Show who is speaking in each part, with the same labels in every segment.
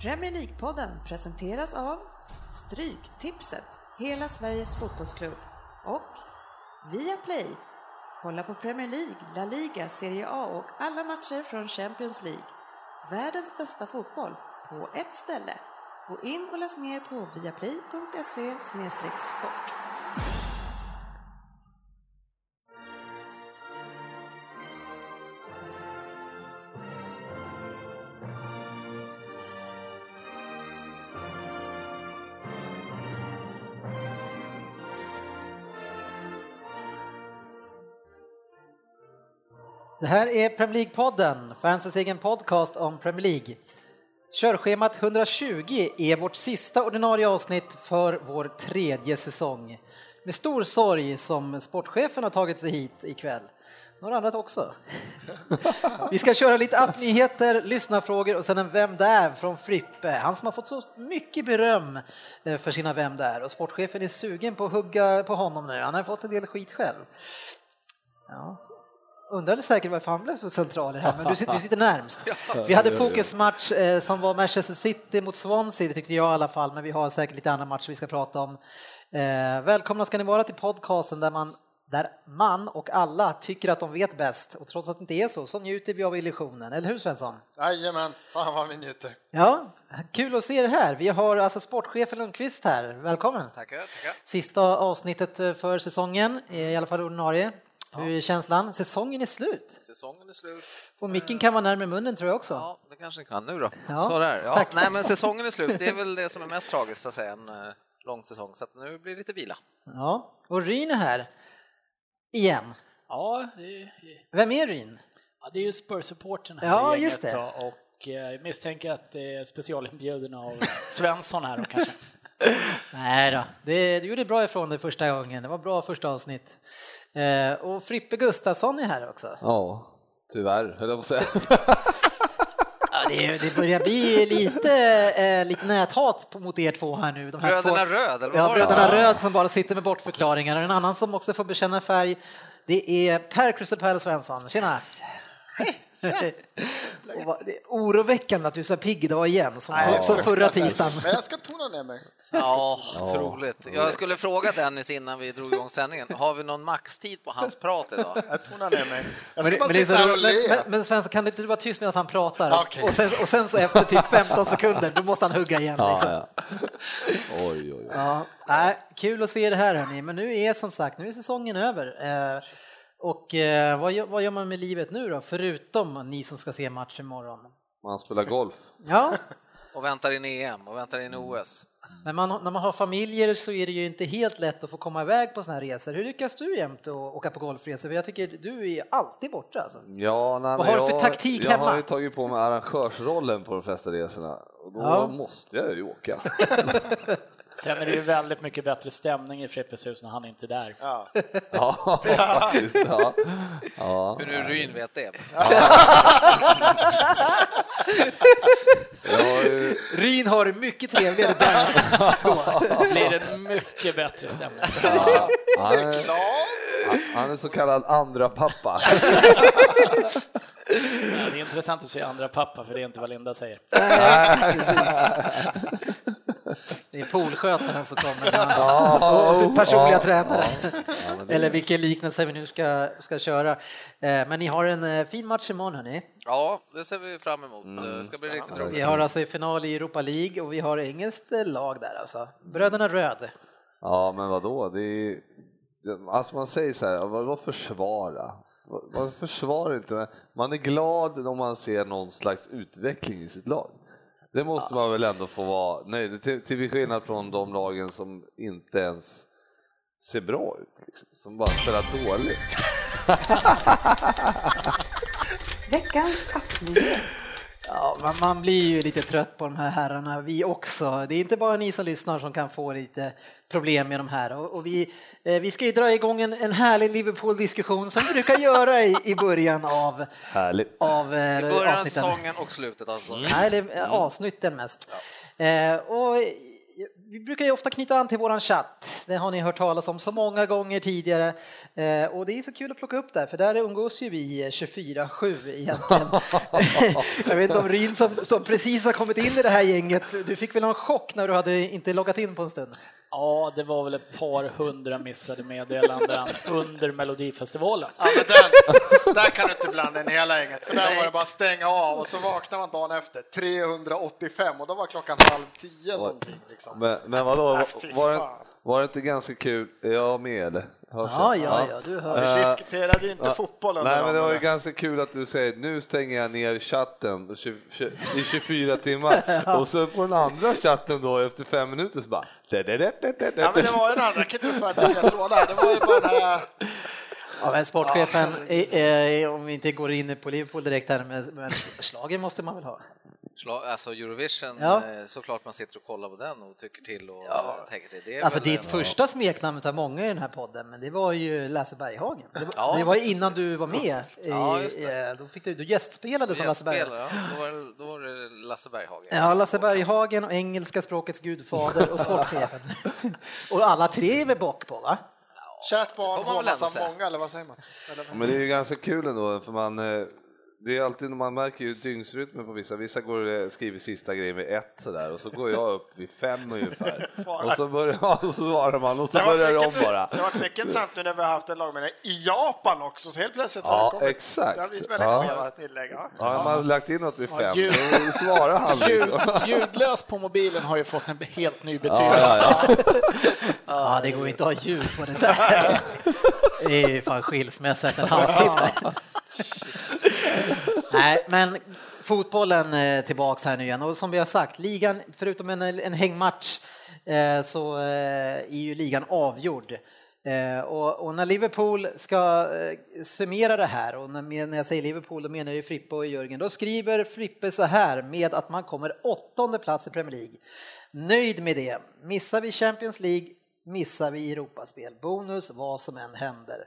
Speaker 1: Premier League-podden presenteras av Stryktipset, hela Sveriges fotbollsklubb och Viaplay. Kolla på Premier League, La Liga, Serie A och alla matcher från Champions League. Världens bästa fotboll på ett ställe. Gå in och läs mer på viaplay.se sport.
Speaker 2: Det här är Premier League-podden, fansens egen podcast om Premier League. Körschemat 120 är vårt sista ordinarie avsnitt för vår tredje säsong. Med stor sorg som sportchefen har tagit sig hit ikväll. Några andra också. Vi ska köra lite appnyheter, lyssnarfrågor och sen en Vem där? från Frippe. Han som har fått så mycket beröm eh, för sina Vem där? och sportchefen är sugen på att hugga på honom nu. Han har fått en del skit själv. Ja, undrade säkert varför han blev så central i det här, men du sitter, du sitter närmst. Vi hade fokusmatch eh, som var Manchester City mot Swansea, det tyckte jag i alla fall, men vi har säkert lite andra matcher vi ska prata om. Eh, välkomna ska ni vara till podcasten där man där man och alla tycker att de vet bäst och trots att det inte är så så njuter vi av illusionen, eller hur Svensson?
Speaker 3: Jajamän, fan vad vi njuter.
Speaker 2: Ja, kul att se er här. Vi har alltså sportchefen Lundqvist här, välkommen!
Speaker 3: Tackar, tackar.
Speaker 2: Sista avsnittet eh, för säsongen, i alla fall ordinarie. Hur är känslan? Säsongen är slut.
Speaker 4: Säsongen är slut.
Speaker 2: Och micken kan vara närmare munnen tror jag också.
Speaker 4: Ja, det kanske den kan nu då.
Speaker 2: Ja,
Speaker 4: Så där. Ja,
Speaker 2: tack.
Speaker 4: nej, men säsongen är slut. Det är väl det som är mest tragiskt, så att säga, en eh, lång säsong. Så att nu blir det lite vila.
Speaker 2: Ja. Och Ryn är här. Igen.
Speaker 5: Ja, det är,
Speaker 2: Vem är Ryn?
Speaker 5: ja, det är ju Spurs-supporten här
Speaker 2: Ja,
Speaker 5: i
Speaker 2: just
Speaker 5: gänget
Speaker 2: det.
Speaker 5: då, Och eh, jag misstänker att det är specialinbjuden av Svensson här och kanske.
Speaker 2: Nej då, det, du gjorde bra ifrån dig första gången. Det var bra första avsnitt. Eh, och Frippe Gustafsson är här också.
Speaker 6: Ja, tyvärr höll jag på att säga.
Speaker 2: Ja, det, det börjar bli lite, eh, lite näthat på- mot er två här nu. De här
Speaker 4: Bröderna
Speaker 2: två,
Speaker 4: Röd, eller vad
Speaker 2: Ja,
Speaker 4: var det?
Speaker 2: bröderna Röd som bara sitter med bortförklaringar. Och en annan som också får bekänna färg, det är Per Krusepell Svensson. Tjena! Och vad- det är oroväckande att du är så pigg idag igen, som, som förra tisdagen.
Speaker 3: Men jag ska tona ner mig.
Speaker 4: Ja, otroligt. Jag skulle fråga Dennis innan vi drog igång sändningen. Har vi någon maxtid på hans prat idag?
Speaker 3: Jag tonar ner mig.
Speaker 2: Men,
Speaker 3: Jag ska
Speaker 2: det-
Speaker 3: bara
Speaker 2: men, det är
Speaker 3: sitta här
Speaker 2: så
Speaker 3: och
Speaker 2: roligt. men,
Speaker 3: le.
Speaker 2: men Svensson, kan inte du vara tyst medan han pratar?
Speaker 3: Okej.
Speaker 2: Och, sen, och sen så efter typ 15 sekunder, då måste han hugga igen.
Speaker 6: Ja,
Speaker 2: liksom.
Speaker 6: ja. Oj, oj, oj.
Speaker 2: Ja, nej, kul att se det här hörni, men nu är som sagt, nu är säsongen över. Eh, och eh, vad, gör, vad gör man med livet nu då, förutom ni som ska se match imorgon?
Speaker 6: Man spelar golf.
Speaker 2: Ja,
Speaker 4: Och väntar in EM och väntar in OS.
Speaker 2: men man, när man har familjer så är det ju inte helt lätt att få komma iväg på såna här resor. Hur lyckas du jämt att åka på golfresor? För jag tycker du är alltid borta alltså.
Speaker 6: Ja, nej,
Speaker 2: Vad
Speaker 6: men
Speaker 2: har du för
Speaker 6: jag,
Speaker 2: taktik
Speaker 6: jag
Speaker 2: hemma?
Speaker 6: har ju tagit på mig arrangörsrollen på de flesta resorna. Och då
Speaker 2: Ja.
Speaker 6: måste jag ju åka.
Speaker 5: Sen är det ju väldigt mycket bättre stämning i Frippes hus när han inte är där.
Speaker 3: Ja.
Speaker 6: ja, faktiskt. Ja. Ja.
Speaker 4: Hur nu Ryn vet det.
Speaker 6: Jag har ju,
Speaker 2: Ryn har det mycket trevligare där.
Speaker 5: Då blir det mycket bättre stämning.
Speaker 6: ja, han,
Speaker 3: Det är
Speaker 6: är,
Speaker 3: klart.
Speaker 6: han är så kallad andra pappa.
Speaker 5: Det är intressant att se andra pappa, för det är inte vad Linda säger.
Speaker 2: Det är poolskötaren som kommer.
Speaker 6: Ja,
Speaker 2: Och personliga
Speaker 6: ja,
Speaker 2: tränare.
Speaker 6: ja, men det-
Speaker 2: Eller vilken liknelse vi nu ska, ska köra. Eh, Men ni har en eh, fin match imorgon hörni.
Speaker 4: Ja, det ser vi fram emot.
Speaker 2: Mm.
Speaker 4: Det ska bli riktigt
Speaker 2: Vi
Speaker 4: roligt.
Speaker 2: har alltså final i Europa League och vi har engelskt eh, lag där alltså. Bröderna Röd.
Speaker 6: Ja, men vadå? Det är, alltså man säger så här, vadå försvara? Vad- Man försvarar inte, man är glad om man ser någon slags utveckling i sitt lag. Det måste man väl ändå få vara nöjd till, till skillnad från de lagen som inte ens ser bra ut, liksom, som bara spelar dåligt.
Speaker 1: Veckans appnyhet.
Speaker 2: Ja, man, man blir ju lite trött på de här herrarna, vi också. Det är inte bara ni som lyssnar som kan få lite problem med de här. Och, och vi, eh, vi ska ju dra igång en, en härlig Liverpool-diskussion som vi brukar göra i, i början av,
Speaker 6: Härligt.
Speaker 2: av eh,
Speaker 4: I början av
Speaker 2: avsnitten. Mm.
Speaker 4: säsongen och slutet alltså.
Speaker 2: Nej, det är avsnitten mest. Eh, och vi brukar ju ofta knyta an till våran chatt. Det har ni hört talas om så många gånger tidigare. Eh, och det är så kul att plocka upp där, för där umgås ju vi 24-7 egentligen. Jag vet inte om Ryn som, som precis har kommit in i det här gänget, du fick väl någon chock när du hade inte loggat in på en stund?
Speaker 5: Ja, det var väl ett par hundra missade meddelanden under Melodifestivalen.
Speaker 3: Ja, men den, där kan du inte blanda in hela gänget, för där var det bara stänga av och så vaknar man dagen efter 385 och då var klockan halv tio någonting. Liksom.
Speaker 6: Men, men vadå,
Speaker 3: Ah,
Speaker 6: var,
Speaker 3: fy
Speaker 6: var, det,
Speaker 3: fan.
Speaker 6: var det inte ganska kul? Är jag med eller? Hörs
Speaker 2: Ja,
Speaker 6: jag?
Speaker 2: ja, ja, du hör.
Speaker 3: Vi diskuterade ju inte fotboll under
Speaker 6: Eh, Nej, men det
Speaker 3: dagen,
Speaker 6: var ju
Speaker 3: eller?
Speaker 6: ganska kul att du säger nu stänger jag ner chatten i 24 timmar och så på den andra chatten då efter fem minuter så bara...
Speaker 3: Ja, men det var ju den andra, jag kan inte tro att jag fick trådar. Det var ju bara den här
Speaker 2: Ja, men sportchefen, eh, eh, om vi inte går in på Liverpool direkt här, men, men slagen måste man väl ha?
Speaker 4: Schla- Alltså Eurovision,
Speaker 2: Ja.
Speaker 4: eh, såklart man sitter och kollar på den och tycker till och eh, tänker till. Det är
Speaker 2: Alltså
Speaker 4: väl,
Speaker 2: ditt
Speaker 4: eh,
Speaker 2: första smeknamn utav många i den här podden, men det var ju Lasse Berghagen. Det var,
Speaker 4: Ja,
Speaker 2: det var ju innan
Speaker 4: precis.
Speaker 2: du var med. I,
Speaker 4: Ja, just det.
Speaker 2: eh, Då, fick du, då gästspelade som Lasse
Speaker 4: gästspelare,
Speaker 2: Berghagen.
Speaker 4: ja. Då var det- Då var det Lasse Berghagen.
Speaker 2: Ja, Lasse Berghagen och engelska språkets gudfader och sportchefen. och alla tre är väl bock på va?
Speaker 3: kärt barn
Speaker 4: Får man väl ändå
Speaker 3: hånas av
Speaker 4: säga.
Speaker 3: många, eller vad säger man? Eller,
Speaker 6: Men det är ju ganska kul ändå för man... eh, Det är alltid, man märker ju dygnsrytmen på vissa. Vissa går och skriver sista grejen vid ett sådär och så går jag upp vid fem ungefär.
Speaker 3: Svarar.
Speaker 6: Och så, börjar, och så svarar man och så
Speaker 3: Det har
Speaker 6: börjar det om
Speaker 3: mycket-
Speaker 6: bara.
Speaker 3: Det har varit mycket intressant nu när vi har haft en lagmedlem i Japan också, så helt plötsligt har
Speaker 6: Ja,
Speaker 3: det kommit.
Speaker 6: exakt.
Speaker 3: Det har blivit väldigt
Speaker 6: Ja.
Speaker 3: skevt tillägg. Ja.
Speaker 6: Ja, man har lagt in något vid
Speaker 5: Ja,
Speaker 6: fem,
Speaker 5: gud.
Speaker 6: då svarar han
Speaker 5: Ljud,
Speaker 6: liksom.
Speaker 5: ljudlös på mobilen har ju fått en helt ny
Speaker 6: Ja,
Speaker 5: betydelse.
Speaker 6: ja, ja.
Speaker 2: Ja, det går inte att ha ljud på det där. Det är ju fan skilsmässa efter en halvtimme. Nej, men fotbollen eh, tillbaks här nu igen och som vi har sagt, ligan, förutom en, en hängmatch, eh, så eh, är ju ligan avgjord. Eh, Och, och när Liverpool ska eh, summera det här, och när, när jag säger Liverpool då menar jag ju Frippe och Jörgen, då skriver Frippe så här med att man kommer åttonde plats i Premier League. Nöjd med det. Missar vi Champions League missar vi Europaspel. Bonus vad som än händer.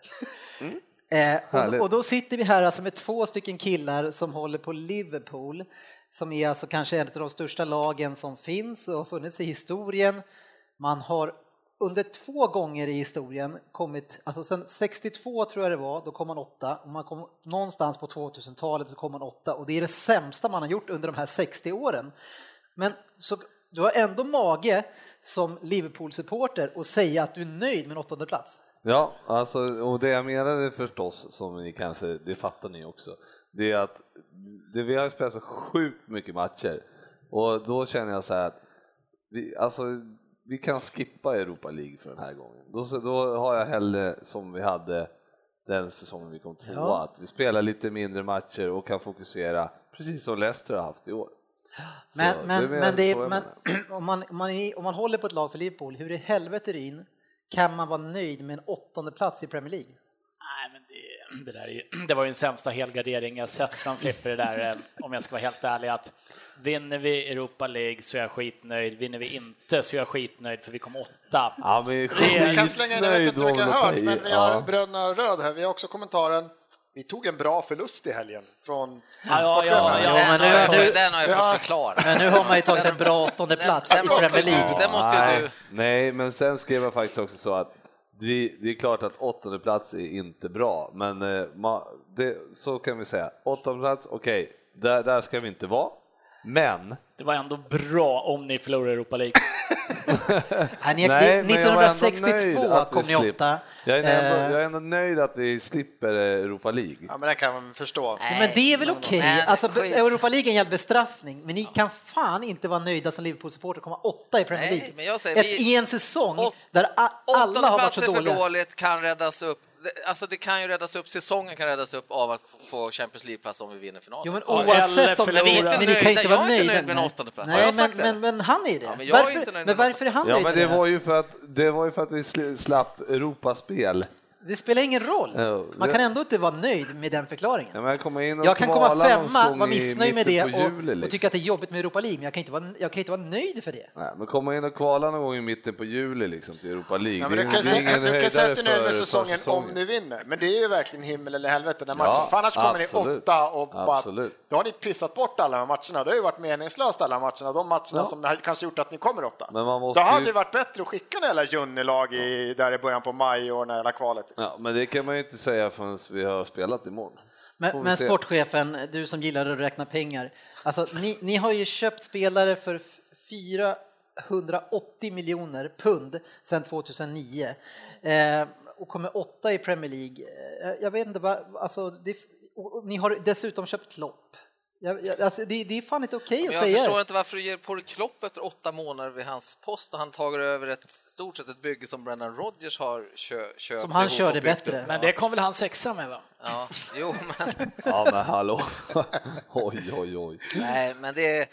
Speaker 2: Eh, och,
Speaker 6: Härligt.
Speaker 2: och då sitter vi här alltså med två stycken killar som håller på Liverpool som är alltså kanske ett av de största lagen som finns och har funnits i historien. Man har under två gånger i historien kommit, alltså sen 62 tror jag det var, då kom man åtta och man kom någonstans på 2000-talet så kom man åtta och det är det sämsta man har gjort under de här 60 åren. Men så, du har ändå mage som Liverpool-supporter och säga att du är nöjd med en åttonde plats.
Speaker 6: Ja, alltså, och det jag menade förstås, som ni kanske, det fattar ni också, det är att det, vi har spelat så sjukt mycket matcher och då känner jag så här att vi, alltså, vi kan skippa Europa League för den här gången. Då, så- då har jag hellre, som vi hade den säsongen vi kom tvåa,
Speaker 2: Ja.
Speaker 6: att vi spelar lite mindre matcher och kan fokusera, precis som Leicester har haft i år. Så
Speaker 2: Men, men,
Speaker 6: det är
Speaker 2: men, det är,
Speaker 6: så jag
Speaker 2: men
Speaker 6: menar.
Speaker 2: om, man, om, man är, om man håller på ett lag för Liverpool, hur i helvete Ryn kan man vara nöjd med en åttonde plats i Premier League?
Speaker 5: Nej, men det, det, där är ju, det var ju den sämsta helgardering jag sett från Flipper det där, eh, om jag ska vara helt ärlig. Att vinner vi Europa League så är jag skitnöjd, vinner vi inte så är jag skitnöjd för vi kom åtta.
Speaker 6: Ja, men
Speaker 3: Vi kan slänga in, jag vet inte hur mycket jag har hört, men vi har bröderna Röd här, vi har också kommentaren vi tog en bra förlust i helgen från
Speaker 5: Ja, ja, ja,
Speaker 2: Jo, men
Speaker 4: Den, har jag,
Speaker 2: nu-
Speaker 4: fått- den har jag
Speaker 3: Ja.
Speaker 4: fått förklara.
Speaker 2: Men nu har man ju tagit en bra åttonde plats i
Speaker 4: den måste-
Speaker 2: Premier League.
Speaker 4: den måste ju
Speaker 6: nej,
Speaker 4: du-
Speaker 6: Nej, men sen skrev jag faktiskt också så att vi, det är klart att åttonde plats är inte bra, men eh, ma, det, så kan vi säga. Åttonde plats, okej, där, där ska vi inte vara. Men,
Speaker 5: Det var ändå bra om ni förlorar Europa League.
Speaker 2: Nej, ni-
Speaker 6: nej, men jag var ändå
Speaker 2: 1962
Speaker 6: nöjd att vi
Speaker 2: kom ni
Speaker 6: slipper.
Speaker 2: åtta.
Speaker 6: Jag är, ändå,
Speaker 2: Eh,
Speaker 6: jag är ändå nöjd att vi slipper eh, Europa League.
Speaker 3: Ja, men det kan man förstå.
Speaker 4: Nej,
Speaker 2: Men det är väl okej?
Speaker 4: men
Speaker 2: Alltså,
Speaker 4: skit.
Speaker 2: Europa League är en jävla bestraffning, men ni kan fan inte vara nöjda som Liverpool-supporter och komma åtta i Premier
Speaker 4: Nej,
Speaker 2: League.
Speaker 4: men jag säger,
Speaker 2: Ett,
Speaker 4: vi-
Speaker 2: I en säsong
Speaker 4: Åt-
Speaker 2: där a- alla har varit
Speaker 4: plats
Speaker 2: så
Speaker 4: är för
Speaker 2: dåliga.
Speaker 4: dåligt, kan räddas upp. Det- Alltså det kan ju räddas upp, säsongen kan räddas upp av att få Champions League-plats om vi vinner finalen.
Speaker 2: Jo, men
Speaker 5: Ja,
Speaker 2: oavsett
Speaker 5: eller
Speaker 2: om
Speaker 5: förlora. Vi är inte
Speaker 2: men ni kan
Speaker 4: nöjda.
Speaker 2: inte vara
Speaker 4: Jag är inte
Speaker 2: nöjda
Speaker 4: nöjd med en
Speaker 2: nej.
Speaker 4: åttonde plats. Har
Speaker 2: Nej,
Speaker 4: jag
Speaker 2: men,
Speaker 4: sagt det?
Speaker 2: men, men han är det.
Speaker 4: Ja, men jag är
Speaker 2: varför,
Speaker 4: inte nöjd med
Speaker 2: men varför är han
Speaker 6: Ja,
Speaker 2: nöjd
Speaker 6: men
Speaker 2: med
Speaker 6: det var ju för att det var ju för att vi sl- slapp Europaspel.
Speaker 2: det spelar ingen roll.
Speaker 6: Ja,
Speaker 2: Man
Speaker 6: det-
Speaker 2: kan ändå inte vara nöjd med den
Speaker 6: Ja,
Speaker 2: förklaringen.
Speaker 6: men jag, kommer in och
Speaker 2: Jag kan komma
Speaker 6: kvala någon
Speaker 2: femma,
Speaker 6: gång
Speaker 2: vara
Speaker 6: i
Speaker 2: missnöjd med
Speaker 6: mitten
Speaker 2: det
Speaker 6: på
Speaker 2: och,
Speaker 6: juli, liksom.
Speaker 2: och tycka att det är jobbigt med Europa League, men jag kan inte vara, jag kan inte vara nöjd för det.
Speaker 6: Nej, men komma in och kvala någon gång i mitten på juli liksom till Europa League.
Speaker 3: Nej, men du
Speaker 6: Det
Speaker 3: kan
Speaker 6: är ingen- det är
Speaker 3: säga
Speaker 6: ingen
Speaker 3: du kan säga att du är
Speaker 6: höjdare
Speaker 3: nöjd med
Speaker 6: för
Speaker 3: säsongen om
Speaker 6: försäsongen.
Speaker 3: ni vinner, men det är ju verkligen himmel eller helvete den
Speaker 6: Ja,
Speaker 3: matchen. För annars kommer ni
Speaker 6: absolut.
Speaker 3: åtta och bara,
Speaker 6: Absolut.
Speaker 3: då har ni pissat bort alla de här matcherna. Det har ju varit meningslöst alla matcherna, de matcherna
Speaker 6: Ja.
Speaker 3: som har kanske gjort att ni kommer åtta.
Speaker 6: Men man
Speaker 3: Då
Speaker 6: måste
Speaker 3: hade
Speaker 6: ju-
Speaker 3: det varit bättre att skicka några jävla junnelag i, där i början på maj och när hela kvalet. Liksom.
Speaker 6: Ja, men det kan man ju inte säga förrän vi har spelat imorgon. Får
Speaker 2: Men,
Speaker 6: vi
Speaker 2: men
Speaker 6: se.
Speaker 2: sportchefen, du som gillar att räkna pengar, alltså, ni, ni har ju köpt spelare för f- 480 miljoner pund sedan 2009 eh, och kommer åtta i Premier League. Eh, jag vet inte, vad- alltså, det, och, och, ni har dessutom köpt Klopp. Jag, jag, alltså, det, det är fan inte okej
Speaker 4: Men
Speaker 2: att
Speaker 4: jag
Speaker 2: säga
Speaker 4: förstår
Speaker 2: det.
Speaker 4: inte varför du ger på dig Klopp efter åtta månader vid hans post och han tar över ett stort sett ett bygge som Brendan Rodgers har kö, köpt
Speaker 2: Som han
Speaker 4: ihop och
Speaker 2: körde
Speaker 4: byggt upp.
Speaker 2: bättre.
Speaker 5: Men det kom väl han sexa med va?
Speaker 4: Ja, jo, men,
Speaker 6: Ja, men hallå. oj, oj, oj.
Speaker 4: nej, men det,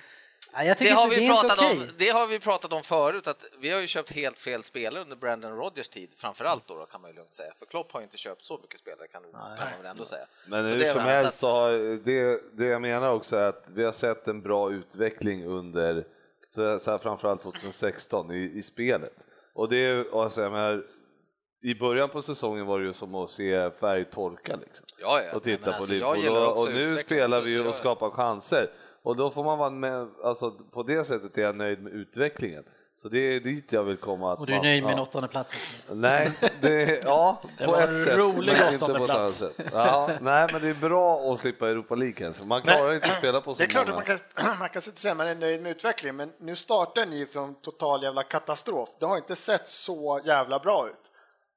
Speaker 2: Nej, jag
Speaker 4: det,
Speaker 2: tycker
Speaker 4: har
Speaker 2: inte,
Speaker 4: vi
Speaker 2: det är inte
Speaker 4: pratat
Speaker 2: okej.
Speaker 4: om, det har vi pratat om förut, att vi har ju köpt helt fel spelare under Brendan Rodgers tid, framförallt då, då kan man ju lugnt säga, för Klopp har ju inte köpt så mycket spelare kan, kan man väl ändå säga.
Speaker 6: Men
Speaker 4: Så
Speaker 6: hur
Speaker 4: det är
Speaker 6: som
Speaker 4: väl- så
Speaker 6: helst så har det, det jag menar också är att vi har sett en bra utveckling under så så här, framförallt 2016 i, i spelet. Och det är ju- alltså, jag menar, i början på säsongen var det ju som att se färgtorka liksom.
Speaker 4: Ja, ja,
Speaker 6: och
Speaker 4: nej,
Speaker 6: titta
Speaker 4: men
Speaker 6: på
Speaker 4: alltså, jag
Speaker 6: Liverpool.
Speaker 4: gillar
Speaker 6: Och,
Speaker 4: också
Speaker 6: och nu
Speaker 4: utveckling,
Speaker 6: spelar
Speaker 4: så
Speaker 6: vi ju
Speaker 4: jag-
Speaker 6: och skapar chanser. Och då får man vara med, alltså på det sättet är jag nöjd med utvecklingen. Så det är dit jag vill komma. Att
Speaker 2: Och du är
Speaker 6: man-
Speaker 2: nöjd med
Speaker 6: ja.
Speaker 2: en åttonde plats också.
Speaker 6: Nej, det, ja,
Speaker 5: Det
Speaker 6: på
Speaker 5: var
Speaker 6: ett
Speaker 5: en
Speaker 6: sätt.
Speaker 5: rolig
Speaker 6: men inte på ett annat
Speaker 5: åttondeplats.
Speaker 6: sätt. Ja, nej, men det är bra att slippa Europa League. Alltså. Man klarar inte att spela på så
Speaker 3: Det är klart att
Speaker 6: många.
Speaker 3: man kan, man kan inte säga att man är nöjd med utvecklingen, men nu startar ni från total jävla katastrof. Det har inte sett så jävla bra ut.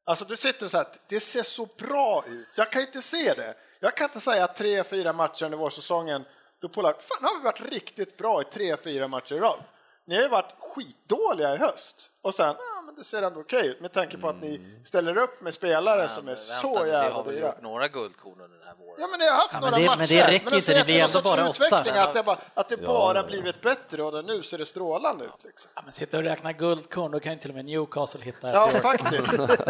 Speaker 3: Alltså du sitter så här, det ser så bra ut. Jag kan inte se det. Jag kan inte säga att tre, fyra matcher under vårsäsongen, då Polar, fan nu har vi varit riktigt bra i tre, fyra matcher i rad. Ni har ju varit skitdåliga i höst och sen, ja men det ser ändå okej ut med tanke på att ni ställer upp med spelare som är
Speaker 4: Mm. Men vänta,
Speaker 3: så
Speaker 4: vi
Speaker 3: jävla
Speaker 4: har väl
Speaker 3: dyra.
Speaker 4: gjort några guldkorn under den här våren.
Speaker 3: Ja men jag har haft
Speaker 2: Ja, men
Speaker 3: några
Speaker 2: det-
Speaker 3: matcher.
Speaker 2: men det räcker
Speaker 3: de
Speaker 2: inte,
Speaker 3: säger
Speaker 2: det
Speaker 3: att
Speaker 2: blir
Speaker 3: är någon
Speaker 2: ändå
Speaker 3: sorts
Speaker 2: bara åtta.
Speaker 3: utveckling, Att det bara, att det bara
Speaker 6: ja.
Speaker 3: blivit bättre och nu ser det strålande ut. Liksom.
Speaker 5: Ja, men sitta och räkna guldkorn, då kan ju till och med Newcastle hitta ett
Speaker 3: Ja
Speaker 5: i år.
Speaker 3: faktiskt.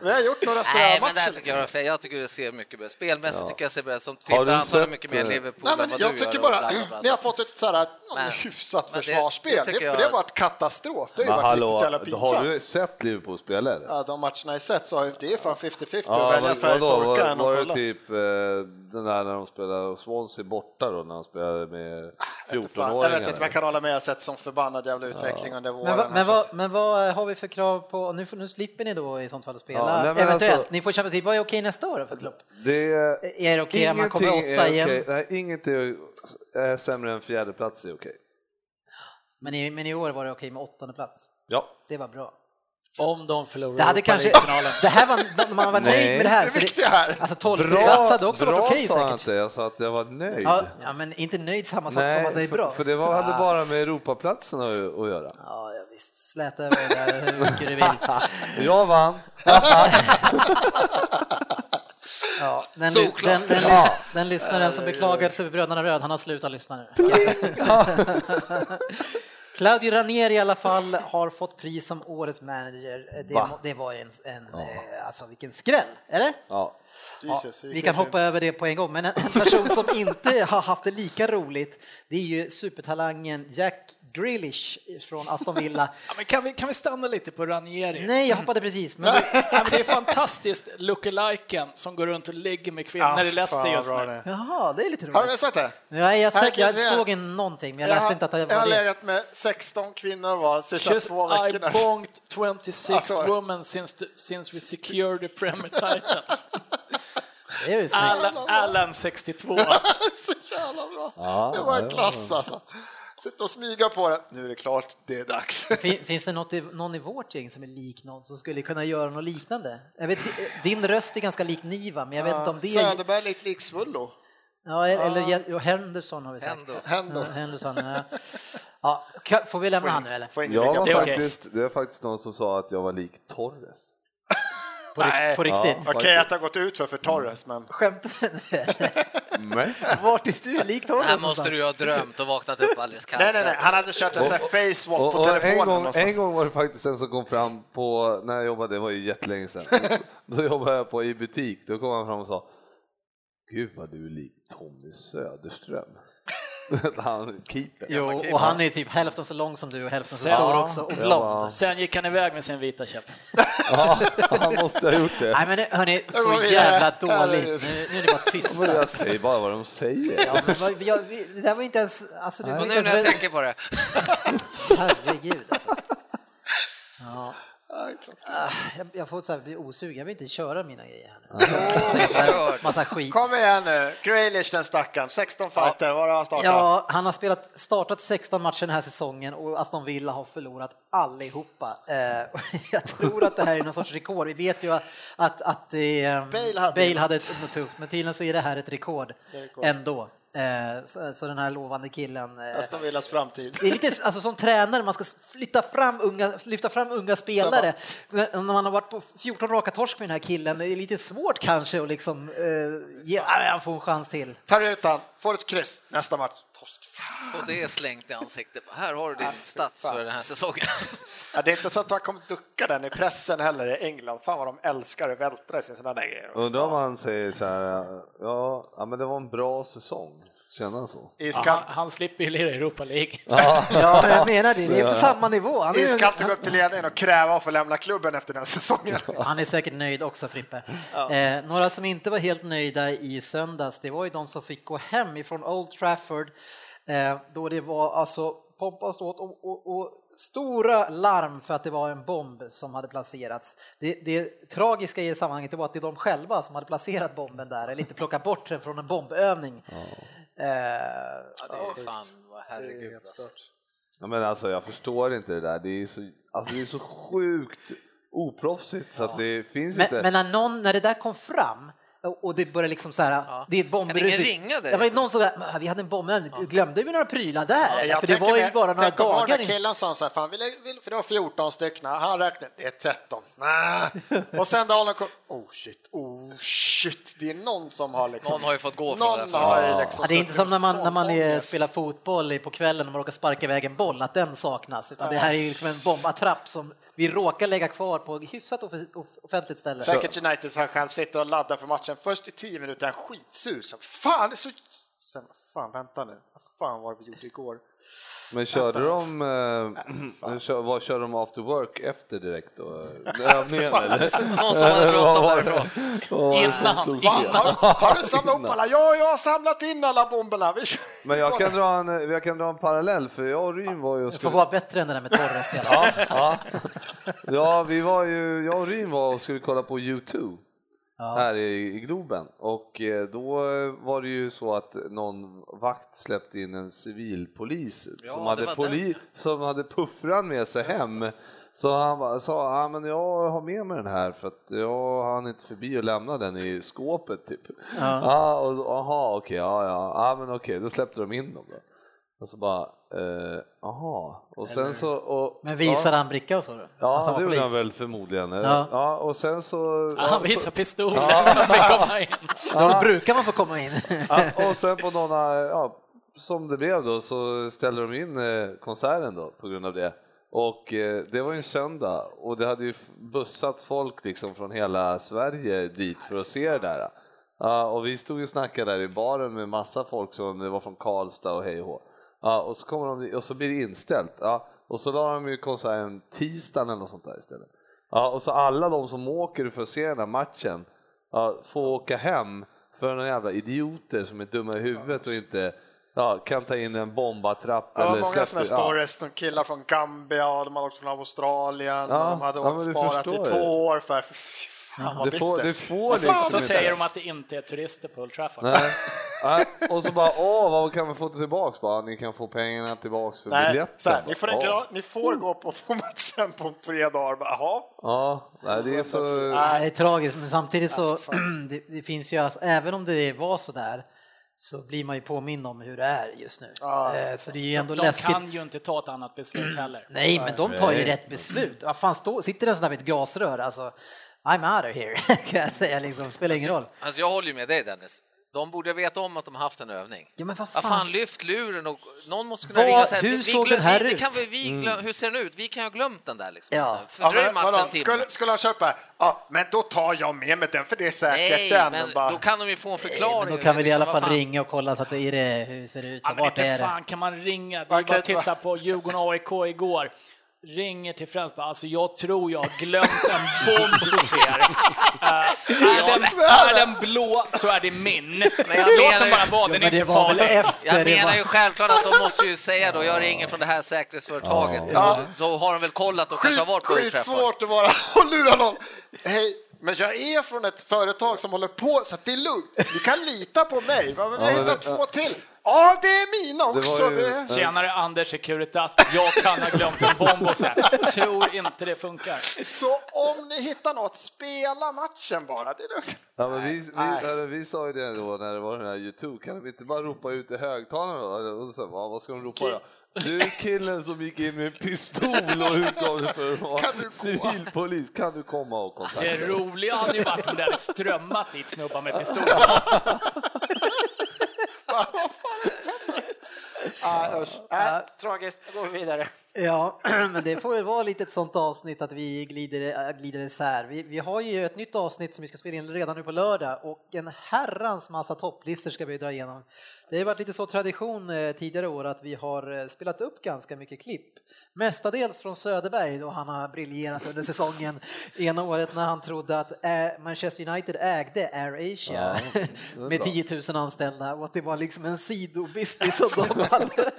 Speaker 3: Vi har gjort några
Speaker 4: Nej, men där
Speaker 3: strömatcher.
Speaker 4: tycker jag var fel. Jag tycker det ser mycket bättre Spelmässigt tycker jag ser bättre Som typ
Speaker 6: Har du
Speaker 4: tittare antagligen
Speaker 6: sett,
Speaker 4: mycket mer
Speaker 6: eh,
Speaker 4: Liverpool
Speaker 3: Nej,
Speaker 4: än
Speaker 3: men
Speaker 4: vad
Speaker 3: jag
Speaker 4: du gör
Speaker 3: tycker
Speaker 4: och
Speaker 3: bara
Speaker 4: bla, bla, bla.
Speaker 3: ni har fått ett sådär, någon
Speaker 4: Nej,
Speaker 3: hyfsat
Speaker 4: men det-
Speaker 3: försvarsspel.
Speaker 4: det
Speaker 3: Det,
Speaker 4: tycker
Speaker 3: för
Speaker 4: jag
Speaker 3: det har
Speaker 4: att-
Speaker 3: varit katastrof. Det har ju
Speaker 6: Men
Speaker 3: varit riktigt
Speaker 6: hallå,
Speaker 3: jävla
Speaker 6: har
Speaker 3: pinsamt.
Speaker 6: du sett Liverpool spela eller?
Speaker 3: Ja, de matcherna jag sett så har ju- det är fan 50-50
Speaker 6: Ja,
Speaker 3: att välja
Speaker 6: vad- vadå,
Speaker 3: färgtorka
Speaker 6: var,
Speaker 3: än
Speaker 6: var
Speaker 3: att
Speaker 6: det
Speaker 3: kolla.
Speaker 6: typ eh, den där när de spelade Swansea borta då, när de spelade med
Speaker 3: Ah, Jag vet inte fan. Jag vet inte, men
Speaker 6: 14-åringar?
Speaker 3: jag kan hålla med. Jag har sett sån förbannad jävla utveckling under
Speaker 2: Men,
Speaker 3: våren.
Speaker 2: vad-
Speaker 3: här,
Speaker 2: men,
Speaker 3: så att-
Speaker 2: vad, men vad har vi för krav på, nu, får- nu slipper ni då i sånt fall att spela,
Speaker 6: Ja, nej, men
Speaker 2: eventuellt,
Speaker 6: alltså-
Speaker 2: ni får Champions League, vad är okej nästa år då för klubb? Eh,
Speaker 6: Det är...
Speaker 2: Är det okej att man kommer
Speaker 6: Ingenting
Speaker 2: åtta
Speaker 6: är
Speaker 2: igen?
Speaker 6: okej. Nej, inget är, är sämre än fjärdeplats är okej.
Speaker 2: Men, i, men i år var det okej med åttonde plats.
Speaker 6: Ja.
Speaker 2: Det var bra.
Speaker 5: Om de förlorar
Speaker 2: Det hade
Speaker 5: Europa
Speaker 2: kanske,
Speaker 5: League-finalen.
Speaker 2: det här var, man var
Speaker 6: Nej.
Speaker 2: nöjd med det här.
Speaker 3: Det
Speaker 2: så
Speaker 3: viktiga här.
Speaker 2: Alltså tolfte plats hade också varit
Speaker 6: bra
Speaker 2: okej
Speaker 6: sa jag
Speaker 2: säkert.
Speaker 6: inte, jag sa att jag var nöjd.
Speaker 2: Ja, ja, men inte nöjd samma sak som att det är
Speaker 6: för,
Speaker 2: bra.
Speaker 6: för det var, hade bara med Europaplatsen att, att göra.
Speaker 2: Ja, ja, visst, släta över det där hur mycket du vill.
Speaker 6: Jag vann.
Speaker 2: Ja, den, den,
Speaker 4: Såklart.
Speaker 2: den, den, lys, den lyssnaren som beklagade sig över Bröderna Röd, han har slutat lyssna nu. Claudio Ranieri i alla fall har fått pris som årets manager. Det,
Speaker 6: Va?
Speaker 2: må- det var en, en eh, alltså vilken skräll, eller?
Speaker 6: Ja.
Speaker 2: Ja,
Speaker 3: Jesus,
Speaker 2: vi kan
Speaker 3: vilken film.
Speaker 2: hoppa över det på en gång, men en en person som inte har haft det lika roligt, det är ju supertalangen Jack Grealish från Aston Villa.
Speaker 5: Ja, men kan, vi, kan vi stanna lite på Ranieri?
Speaker 2: Nej, jag hoppade precis, men
Speaker 5: Ja, men det är fantastiskt, lookaliken som går runt och ligger med kvinnor
Speaker 3: Ah,
Speaker 5: i Leicester
Speaker 3: fan,
Speaker 5: just
Speaker 3: vad bra
Speaker 5: nu.
Speaker 3: det är.
Speaker 2: jaha, det är lite
Speaker 3: Har du
Speaker 2: roligt.
Speaker 3: missat det?
Speaker 2: Nej, jag,
Speaker 3: Här
Speaker 2: sett,
Speaker 3: kan
Speaker 2: jag
Speaker 3: vi-
Speaker 2: såg en någonting, men jag läste inte att det
Speaker 3: Jag har
Speaker 2: var det.
Speaker 3: legat med 16 kvinnor var sista
Speaker 5: Just
Speaker 3: två
Speaker 5: I
Speaker 3: veckorna.
Speaker 5: bonked 26
Speaker 3: Alltså.
Speaker 5: women since, the- since we secured the Premier title.
Speaker 2: Det är ju snyggt.
Speaker 5: Alan, Alan 62.
Speaker 3: Så jävla bra.
Speaker 6: Ja,
Speaker 3: det var en
Speaker 6: ja,
Speaker 3: klass alltså. Sitta och smyga på det. Nu är det klart, det är dags.
Speaker 2: Fin, finns det något i, någon i vårt gäng som är lik någon som skulle kunna göra något liknande? Jag vet, din röst är ganska lik Niva, men jag vet inte om det är...
Speaker 3: Söderberg lite lik Svullo.
Speaker 2: Ja, e-, eller Jen- Henderson har vi sagt.
Speaker 4: Hendo.
Speaker 3: Hendo.
Speaker 2: Ja, Henderson, ja. Ja, ka- får vi lämna han nu eller?
Speaker 3: Får ingen
Speaker 6: Jag
Speaker 3: lika
Speaker 6: var
Speaker 5: Det är
Speaker 3: bra.
Speaker 5: okej.
Speaker 6: faktiskt, det är faktiskt någon som sa att jag var lik Torres.
Speaker 2: På, ri-
Speaker 3: Nej.
Speaker 2: på riktigt?
Speaker 3: Okej att det har gått ut för, för Torres, men
Speaker 2: Skämtar du nu eller?
Speaker 6: Nej.
Speaker 2: Vart är du lik
Speaker 4: Det
Speaker 2: Torres
Speaker 4: här måste du ju ha drömt och vaknat upp alldeles
Speaker 3: Nej, nej,
Speaker 4: kallsvettig.
Speaker 3: nej, han hade kört en sån här face swap
Speaker 6: Och,
Speaker 3: på
Speaker 6: och en,
Speaker 3: telefonen.
Speaker 6: gång,
Speaker 3: och så.
Speaker 6: en gång var det faktiskt en som kom fram på, när jag jobbade, det var ju jättelänge sedan, då jobbade jag på i butik, då kom han fram och sa Gud vad du är lik Tommy Söderström. han keeper.
Speaker 2: Jo, och han är typ hälften så lång som du och hälften så
Speaker 5: Ja.
Speaker 2: stor också och blond.
Speaker 5: Sen gick han iväg med sin vita käpp.
Speaker 6: Ja, han måste ha gjort det.
Speaker 2: Nej men hörni,
Speaker 3: var
Speaker 2: så
Speaker 3: vi-
Speaker 2: jävla
Speaker 3: Herregud.
Speaker 2: dåligt. Nu, nu är ni bara
Speaker 6: Men
Speaker 2: tysta.
Speaker 6: jag säger bara vad de säger.
Speaker 2: Ja, men vad- jag, vi- det där var inte ens... Alltså, det var
Speaker 4: Och
Speaker 2: inte
Speaker 4: nu när jag
Speaker 2: ens
Speaker 4: tänker på det.
Speaker 2: herregud alltså. Ah,
Speaker 3: Ja, det är klart.
Speaker 2: jag, jag får så här, bli osugen, jag vill inte köra mina grejer här nu.
Speaker 4: Kör.
Speaker 2: Massa skit.
Speaker 3: Kom igen nu, Grealish den stackaren, 16 fighter, var har han startat?
Speaker 2: Ja, han har spelat, startat 16 matcher den här säsongen och Aston Villa har förlorat allihopa. Eh, och jag tror att det här är någon sorts rekord. Vi vet ju att, att, att eh,
Speaker 3: Bale hade-
Speaker 2: Bale hade ett, något tufft, men tydligen så är det här ett rekord, ändå. Eh, så, så den här lovande killen. Eh,
Speaker 3: Aston Villas framtid.
Speaker 2: det är lite alltså, som tränare, man ska flytta fram unga, lyfta fram unga spelare. När man har varit på 14 raka torsk med den här killen, det är lite svårt kanske att liksom, eh, ge, ah, han får en chans till.
Speaker 3: Tar ut han, får ett kryss, nästa match. Torsk.
Speaker 4: Och det är slängt i ansiktet. Här har du din stats för den här säsongen.
Speaker 3: Ja, det är inte så att han kommer ducka den i pressen heller i England. Fan vad de älskar att vältra i sina sådana där grejer.
Speaker 6: Undrar om han säger så här, ja, ja men det var en bra säsong. Känner han så?
Speaker 5: Han,
Speaker 3: Iskallt.
Speaker 5: han slipper ju lira i Europa League.
Speaker 2: Ja, men jag menar det. Det är på samma nivå. Han är,
Speaker 3: Iskallt att gå upp till ledningen och kräva att få lämna klubben efter den säsongen.
Speaker 2: han är säkert nöjd också, Frippe. Eh, några som inte var helt nöjda i söndags, det var ju de som fick gå hem ifrån Old Trafford, eh, då det var alltså pompa och ståt och, och, och stora larm för att det var en bomb som hade placerats. Det, det tragiska i sammanhanget det var att det är de själva som hade placerat bomben där, eller inte plockat bort den från en bombövning. Eh,
Speaker 4: Ja, det är fan, vad herregud alltså.
Speaker 6: Ja, men alltså, jag förstår inte det där. Det är så, alltså, det är så sjukt oproffsigt så att det finns
Speaker 2: Men,
Speaker 6: inte.
Speaker 2: men när, någon, när det där kom fram och och det började liksom så här, det är bomber.
Speaker 4: Ja, ingen ringade
Speaker 2: det var ju någon som sa, vi hade en bomb, men glömde vi några prylar där?
Speaker 3: Jag
Speaker 2: För det
Speaker 3: tänker
Speaker 2: var ju
Speaker 3: mig-
Speaker 2: bara några
Speaker 3: tänk om
Speaker 2: dagar.
Speaker 3: den
Speaker 2: in-
Speaker 3: här killen sa så här, fan, vill jag, vill, för det var 14 stycken, han räknade, det är 13. Nä. Och sen då kom, oh shit, oh shit, det är någon som har liksom...
Speaker 4: Någon har ju fått gå från det
Speaker 3: någon
Speaker 4: här
Speaker 3: har ju
Speaker 4: företaget.
Speaker 3: liksom
Speaker 2: Ja, det är inte som när man, när man är,
Speaker 3: ångest.
Speaker 2: spelar fotboll i- på kvällen och man råkar sparka iväg en boll, att den saknas. Utan det här är ju liksom en bombattrapp som vi råkar lägga kvar på ett hyfsat off- off- offentligt ställe.
Speaker 3: Säkert United fan själv sitter och laddar för matchen. Först i 10 minuter är han skitsur. Så, fan, det är så... Sen, fan, vänta nu. Vad fan var det vi gjorde igår?
Speaker 6: Men körde de, eh, kör, vad körde de after work efter direkt då? Övningen eller?
Speaker 4: Någon som hade bråttom därifrån.
Speaker 6: Och-
Speaker 5: Innan,
Speaker 3: Va, har, har du samlat upp alla? Ja, jag har samlat in alla bomberna. Vi kör.
Speaker 6: Men jag kan, dra en, jag kan dra en parallell för jag och Ryn var ju och
Speaker 2: Det får
Speaker 6: skulle,
Speaker 2: vara bättre än det där med Torres. i alla fall.
Speaker 6: ja, ja, vi var ju, jag och Ryn var och skulle kolla på U2 här i, i Globen och eh, då var det ju så att någon vakt släppte in en civilpolis
Speaker 4: Ja,
Speaker 6: som,
Speaker 4: det
Speaker 6: hade
Speaker 4: var
Speaker 6: poli, som hade puffran med sig hem. Så han bara, sa, ja men jag har med mig den här för att jag hann inte förbi och lämna den i skåpet typ. Ja. och, aha, okej, ja, ja, ja, men okej, då släppte de in dem då. Och så bara, eh, aha. Och sen så, och,
Speaker 2: Men visar
Speaker 6: ja,
Speaker 2: han bricka och så? då? Att
Speaker 6: Ja,
Speaker 2: var
Speaker 6: det gjorde han
Speaker 2: polis?
Speaker 6: väl förmodligen. Ja.
Speaker 2: Ja.
Speaker 6: och sen så...
Speaker 5: han visar pistolen som fick komma in.
Speaker 2: Då brukar man få komma in.
Speaker 6: Ja, och sen på någon, ja, som det blev då så ställde de in eh, konserten då på grund av det. Och eh, det var ju en söndag och det hade ju f- bussat folk liksom från hela Sverige dit för att se det där. Ja, och vi stod ju och snackade där i baren med massa folk som det var från Karlstad och hej och hå. Ja, och så kommer de och så blir det inställt. Ja, och så la de ju konserten tisdagen eller något sånt där istället. Ja, och så alla de som åker för att se den här matchen ja, får åka hem för några jävla idioter som är dumma i huvudet och inte ja, kan ta in en bombattrapp.
Speaker 3: Det var
Speaker 6: eller
Speaker 3: många sådana
Speaker 6: släpper- ja.
Speaker 3: stories om killar från Gambia och de hade åkt från Australien
Speaker 6: Ja,
Speaker 3: och de hade
Speaker 6: ja, men
Speaker 3: åkt
Speaker 6: du
Speaker 3: sparat i
Speaker 6: förstår ju.
Speaker 3: två år för... Fy fan vad
Speaker 6: Det får, det
Speaker 3: bittert.
Speaker 6: får
Speaker 5: Och så,
Speaker 6: liksom
Speaker 5: så
Speaker 6: inte.
Speaker 5: säger de att det inte är turister på Old Trafford.
Speaker 6: Nej. Nej. Och så bara, åh, vad kan vi få tillbaks? Bara, ni kan få pengarna tillbaks för
Speaker 3: Nej,
Speaker 6: biljetten.
Speaker 3: så här, ni, får en
Speaker 6: Bara,
Speaker 3: gra- ni får gå på, på matchen på tre dagar. Bara, Jaha,
Speaker 6: Ja, nej, det är så...
Speaker 2: Ja, det är tragiskt, men samtidigt så det, det finns ju, alltså, även om det var så där så blir man ju påmind om hur det är just nu. Eh, Så det är ju ändå
Speaker 5: De
Speaker 2: läskigt.
Speaker 5: kan ju inte ta ett annat beslut heller.
Speaker 2: Nej, men de tar ju rätt beslut. Vad fan, stå, sitter en sån där vid ett gasrör, alltså I'm out of here, kan jag säga liksom, spelar ingen roll.
Speaker 4: Alltså jag håller ju med dig Dennis. De borde veta om att de har haft en övning.
Speaker 2: Ja, men vad
Speaker 4: Ja,
Speaker 2: fan.
Speaker 4: fan, lyft luren och någon måste kunna
Speaker 2: Vad-
Speaker 4: ringa och säga,
Speaker 2: hur
Speaker 4: vi
Speaker 2: såg
Speaker 4: glö-
Speaker 2: den här
Speaker 4: vi, det
Speaker 2: ut? Mm.
Speaker 4: Kan vi, vi glö- Hur ser den ut? Vi kan ju ha glömt den där liksom.
Speaker 2: Ja.
Speaker 3: Ja,
Speaker 4: Fördröj
Speaker 3: men vadå,
Speaker 4: matchen en timme.
Speaker 3: skulle, skulle han köpa? Ja, men då tar jag med mig den för det är säkert
Speaker 4: Nej,
Speaker 3: den.
Speaker 4: men
Speaker 3: Och bara,
Speaker 4: då kan de ju få en
Speaker 2: Nej,
Speaker 4: förklaring.
Speaker 2: men då kan vi i
Speaker 4: liksom,
Speaker 2: alla
Speaker 4: vad
Speaker 2: fall
Speaker 4: fan.
Speaker 2: ringa och kolla så att det är det, hur ser det ut
Speaker 5: Ja,
Speaker 2: och
Speaker 5: men
Speaker 2: vart
Speaker 5: inte
Speaker 2: är
Speaker 5: fan
Speaker 2: det?
Speaker 5: kan man ringa? Vi
Speaker 3: Man kan
Speaker 5: bara
Speaker 3: inte bara-
Speaker 5: titta på Djurgården-AIK igår. Ringer till Frans bara, alltså jag tror jag har glömt en bomb hos er. Eh, är, den, är den blå så är det min.
Speaker 4: jag
Speaker 5: Låt den
Speaker 4: menar
Speaker 5: bara
Speaker 4: ju-
Speaker 5: vara,
Speaker 2: Ja,
Speaker 5: den
Speaker 2: men
Speaker 5: är
Speaker 2: det
Speaker 5: inte
Speaker 2: var väl
Speaker 5: farlig.
Speaker 2: efter
Speaker 4: Jag
Speaker 2: det
Speaker 4: menar
Speaker 2: var...
Speaker 4: ju självklart att de måste ju säga då, jag ringer från det här säkerhetsföretaget. Så har de väl kollat och kanske har varit på urträffar.
Speaker 3: skitsvårt att vara och lura någon. Hej, men jag är från ett företag som håller på så att det är lugnt. Ni kan lita på mig. Ja, men Jag har
Speaker 6: Ja, men
Speaker 3: hittat
Speaker 6: det-
Speaker 3: två till. Ja, det är mina
Speaker 6: Det var
Speaker 3: också.
Speaker 6: ju-
Speaker 3: Det...
Speaker 5: Tjenare Anders Securitas, jag kan ha glömt en bomb hos er. Tror inte det funkar.
Speaker 3: Så om ni hittar något, spela matchen bara. Det är lugnt.
Speaker 6: Ja, men vi, vi,
Speaker 3: nej.
Speaker 6: eller vi sa ju det då när det var den här YouTube, kan de inte bara ropa ut i högtalarna då? Eller- Och så, vad, vad ska de ropa då? Du killen som gick in med en pistol och utgav dig för att
Speaker 3: Kan du
Speaker 6: vara
Speaker 3: gå?
Speaker 6: civilpolis, kan du komma och kontakta
Speaker 5: Det
Speaker 6: oss?
Speaker 5: roliga hade ju varit om det hade strömmat dit snubbar med pistol.
Speaker 3: Ah, usch. Ah, tragiskt, då går vi vidare.
Speaker 2: Ja, men det får väl vara lite ett sånt avsnitt att vi glider, äh, glider isär. Vi, vi har ju ett nytt avsnitt som vi ska spela in redan nu på lördag och en herrans massa topplistor ska vi dra igenom. Det har ju varit lite så tradition eh, tidigare år att vi har eh, spelat upp ganska mycket klipp. Mestadels från Söderberg då han har briljerat under säsongen. Ena året när han trodde att eh, Manchester United ägde Air Asia
Speaker 6: Ja, det är
Speaker 2: med
Speaker 6: bra.
Speaker 2: 10 000 anställda och att det var liksom en sidobusiness
Speaker 6: Alltså.
Speaker 2: som de hade.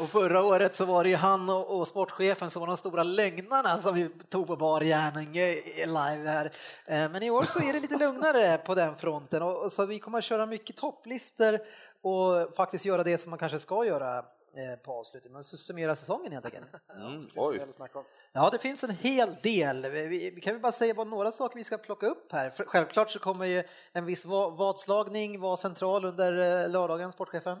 Speaker 2: Och förra året så var det ju han och, och sportchefen som var de stora lögnarna som vi tog på bar gärning eh, live här. Eh, Men i år så är det lite lugnare på den fronten och, och så vi kommer att köra mycket topplistor och faktiskt göra det som man kanske ska göra eh, på avslutningen, men summera säsongen helt enkelt.
Speaker 6: Mm, oj.
Speaker 2: Ja, det finns en hel del. Vi- Vi vi kan väl bara säga bara några saker vi ska plocka upp här. För Självklart så kommer ju en viss va- vadslagning vara central under eh, lördagen, sportchefen.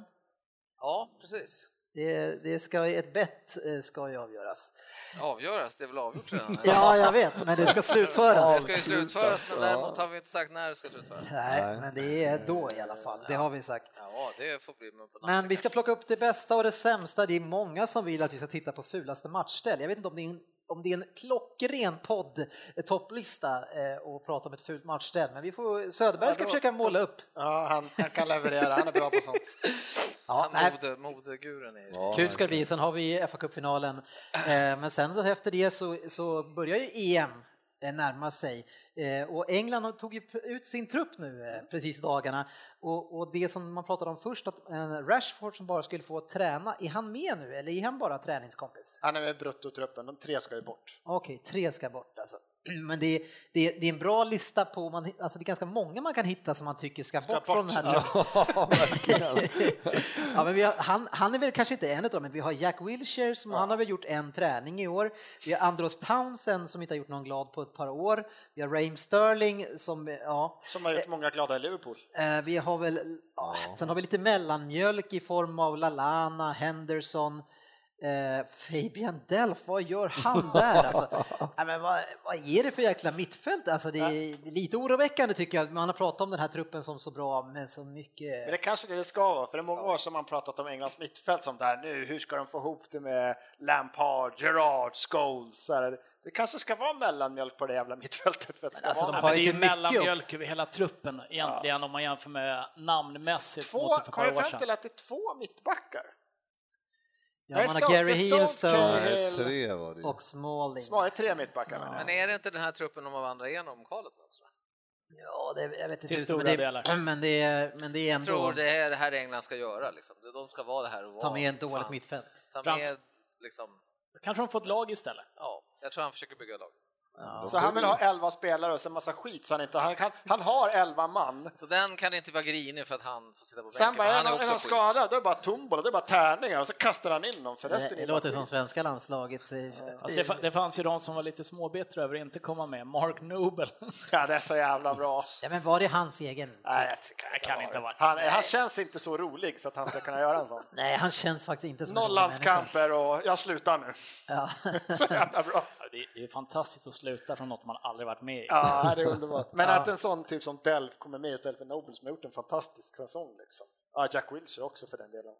Speaker 4: Ja, precis.
Speaker 2: Det, det ska, ett bett eh, ska ju avgöras.
Speaker 4: Avgöras, det är väl avgjort redan? eller?
Speaker 2: Ja, jag vet, men det ska
Speaker 4: Det
Speaker 2: slutföras.
Speaker 4: ska ju slutföras, men däremot har vi inte sagt när det ska slutföras.
Speaker 2: Nej, men det är då i alla fall, det har vi sagt.
Speaker 4: Ja, det får bli med på
Speaker 2: Men
Speaker 4: natten.
Speaker 2: vi ska plocka upp det bästa och det sämsta. Det är många som vill att vi ska titta på fulaste matchställ. Jag vet inte om det är en, om det är en klockren podd, eh, topplista, eh, och prata om ett fult matchställ, men vi får, Söderberg ska
Speaker 3: Ja, då-
Speaker 2: försöka måla upp.
Speaker 3: Ja, han, han kan leverera, han är bra på sånt.
Speaker 2: Ja, nej,
Speaker 4: Han mode, modeguren är
Speaker 6: Ja,
Speaker 2: Kul ska det bli, sen har vi fa Cup-finalen. Eh, Men sen så efter det så, så börjar ju EM eh, närma sig Eh, och England tog ju ut sin trupp nu eh, precis i dagarna och, och det som man pratade om först att eh, Rashford som bara skulle få träna, är han med nu eller är han bara träningskompis?
Speaker 3: Han är med i bruttotruppen, de tre ska ju bort.
Speaker 2: Okej, tre ska bort alltså. Men det, är- det, är- det är en bra lista på, man, alltså det är ganska många man kan hitta som man tycker ska bort, från den här truppen. ja, men vi har, han, han är väl kanske inte en av dem, men vi har Jack Wilshere som han har väl gjort en träning i år. Vi har Andros Townsend som inte har gjort någon glad på ett par år. Vi har Raheem Sterling som, ja,
Speaker 3: Som har gjort många glada i Liverpool.
Speaker 2: eh, vi har väl, ja, sen har vi lite mellanmjölk i form av Lalana, Henderson, eh, Fabian Delph, vad gör han där alltså? Nej, men vad, vad är det för jäkla mittfält? Alltså det är, det är lite oroväckande tycker jag, man har pratat om den här truppen som så bra men så mycket
Speaker 3: Men det kanske det det ska vara, för det är många år som man pratat om Englands mittfält som där nu, hur ska de få ihop det med Lampard, Gerrard, Scholes? Så här, Det kanske ska vara mellanmjölk på det jävla mittfältet för att det ska
Speaker 2: alltså,
Speaker 3: vara
Speaker 2: de
Speaker 5: Ja,
Speaker 2: har
Speaker 5: men det är
Speaker 2: ju
Speaker 5: ju
Speaker 2: inte mycket
Speaker 5: mellanmjölk över hela truppen egentligen om man jämför med namnmässigt
Speaker 3: två,
Speaker 5: mot för ett
Speaker 3: kom
Speaker 5: par
Speaker 3: jag
Speaker 5: år
Speaker 3: fram
Speaker 5: sedan.
Speaker 3: till att det är två mittbackar?
Speaker 2: Ja, man
Speaker 3: Stoke-
Speaker 2: har Gary
Speaker 3: det är
Speaker 2: Hill,
Speaker 3: Stoke, Cahill.
Speaker 2: Stones
Speaker 6: Nej, tre var det ju.
Speaker 2: och Smalling.
Speaker 3: Smala är tre mittbackar menar jag.
Speaker 4: Men är det inte den här truppen de har vandrat igenom alltså? kvalet? Också?
Speaker 2: Ja, det, jag vet inte
Speaker 5: Till
Speaker 2: tusan,
Speaker 5: stora
Speaker 2: men det,
Speaker 5: delar.
Speaker 2: men det, är, men det är
Speaker 4: Jag tror
Speaker 2: ändå
Speaker 4: det är det här England ska göra. Liksom. De ska vara det här och vara...
Speaker 2: ta med en dåligt
Speaker 4: fan,
Speaker 2: mittfält.
Speaker 4: Ta
Speaker 5: Framför-
Speaker 4: med, liksom,
Speaker 5: Kanske de får ett lag istället.
Speaker 4: ja, jag tror han försöker bygga lag.
Speaker 3: Så han vill ha elva spelare och sen massa skit så han inte, han, han, han har elva man.
Speaker 4: Så den kan inte vara grinig för att han får sitta på bänken.
Speaker 3: Sen bara,
Speaker 4: för
Speaker 3: är
Speaker 4: han
Speaker 3: någon, är någon
Speaker 4: skit.
Speaker 3: skadad, då är det bara tombola, det är bara tärningar och så kastar han in dem för
Speaker 2: Det,
Speaker 3: resten
Speaker 2: det
Speaker 3: är
Speaker 2: låter
Speaker 3: bara
Speaker 2: som
Speaker 3: skit.
Speaker 2: svenska landslaget. eh,
Speaker 5: Alltså det, fa- det fanns ju de som var lite småbittra över att inte komma med. Mark Nobel.
Speaker 3: Ja, det är så jävla bra.
Speaker 2: Ja, men var det hans egen?
Speaker 3: Nej, jag tycker
Speaker 5: Det kan inte ha varit.
Speaker 3: Han, han känns inte så rolig så att han ska kunna göra en sån.
Speaker 2: Nej, han känns faktiskt inte som en rolig människa.
Speaker 3: Nolllandskamper och jag slutar nu.
Speaker 2: Ja.
Speaker 3: Så jävla bra.
Speaker 5: Det det är fantastiskt att sluta från något man aldrig varit med i.
Speaker 3: Ja, det är underbart. Men att en sån typ som Delf kommer med istället för Noble som har gjort en fantastisk säsong. Liksom. Ja, Jack Wilshere också för den delen.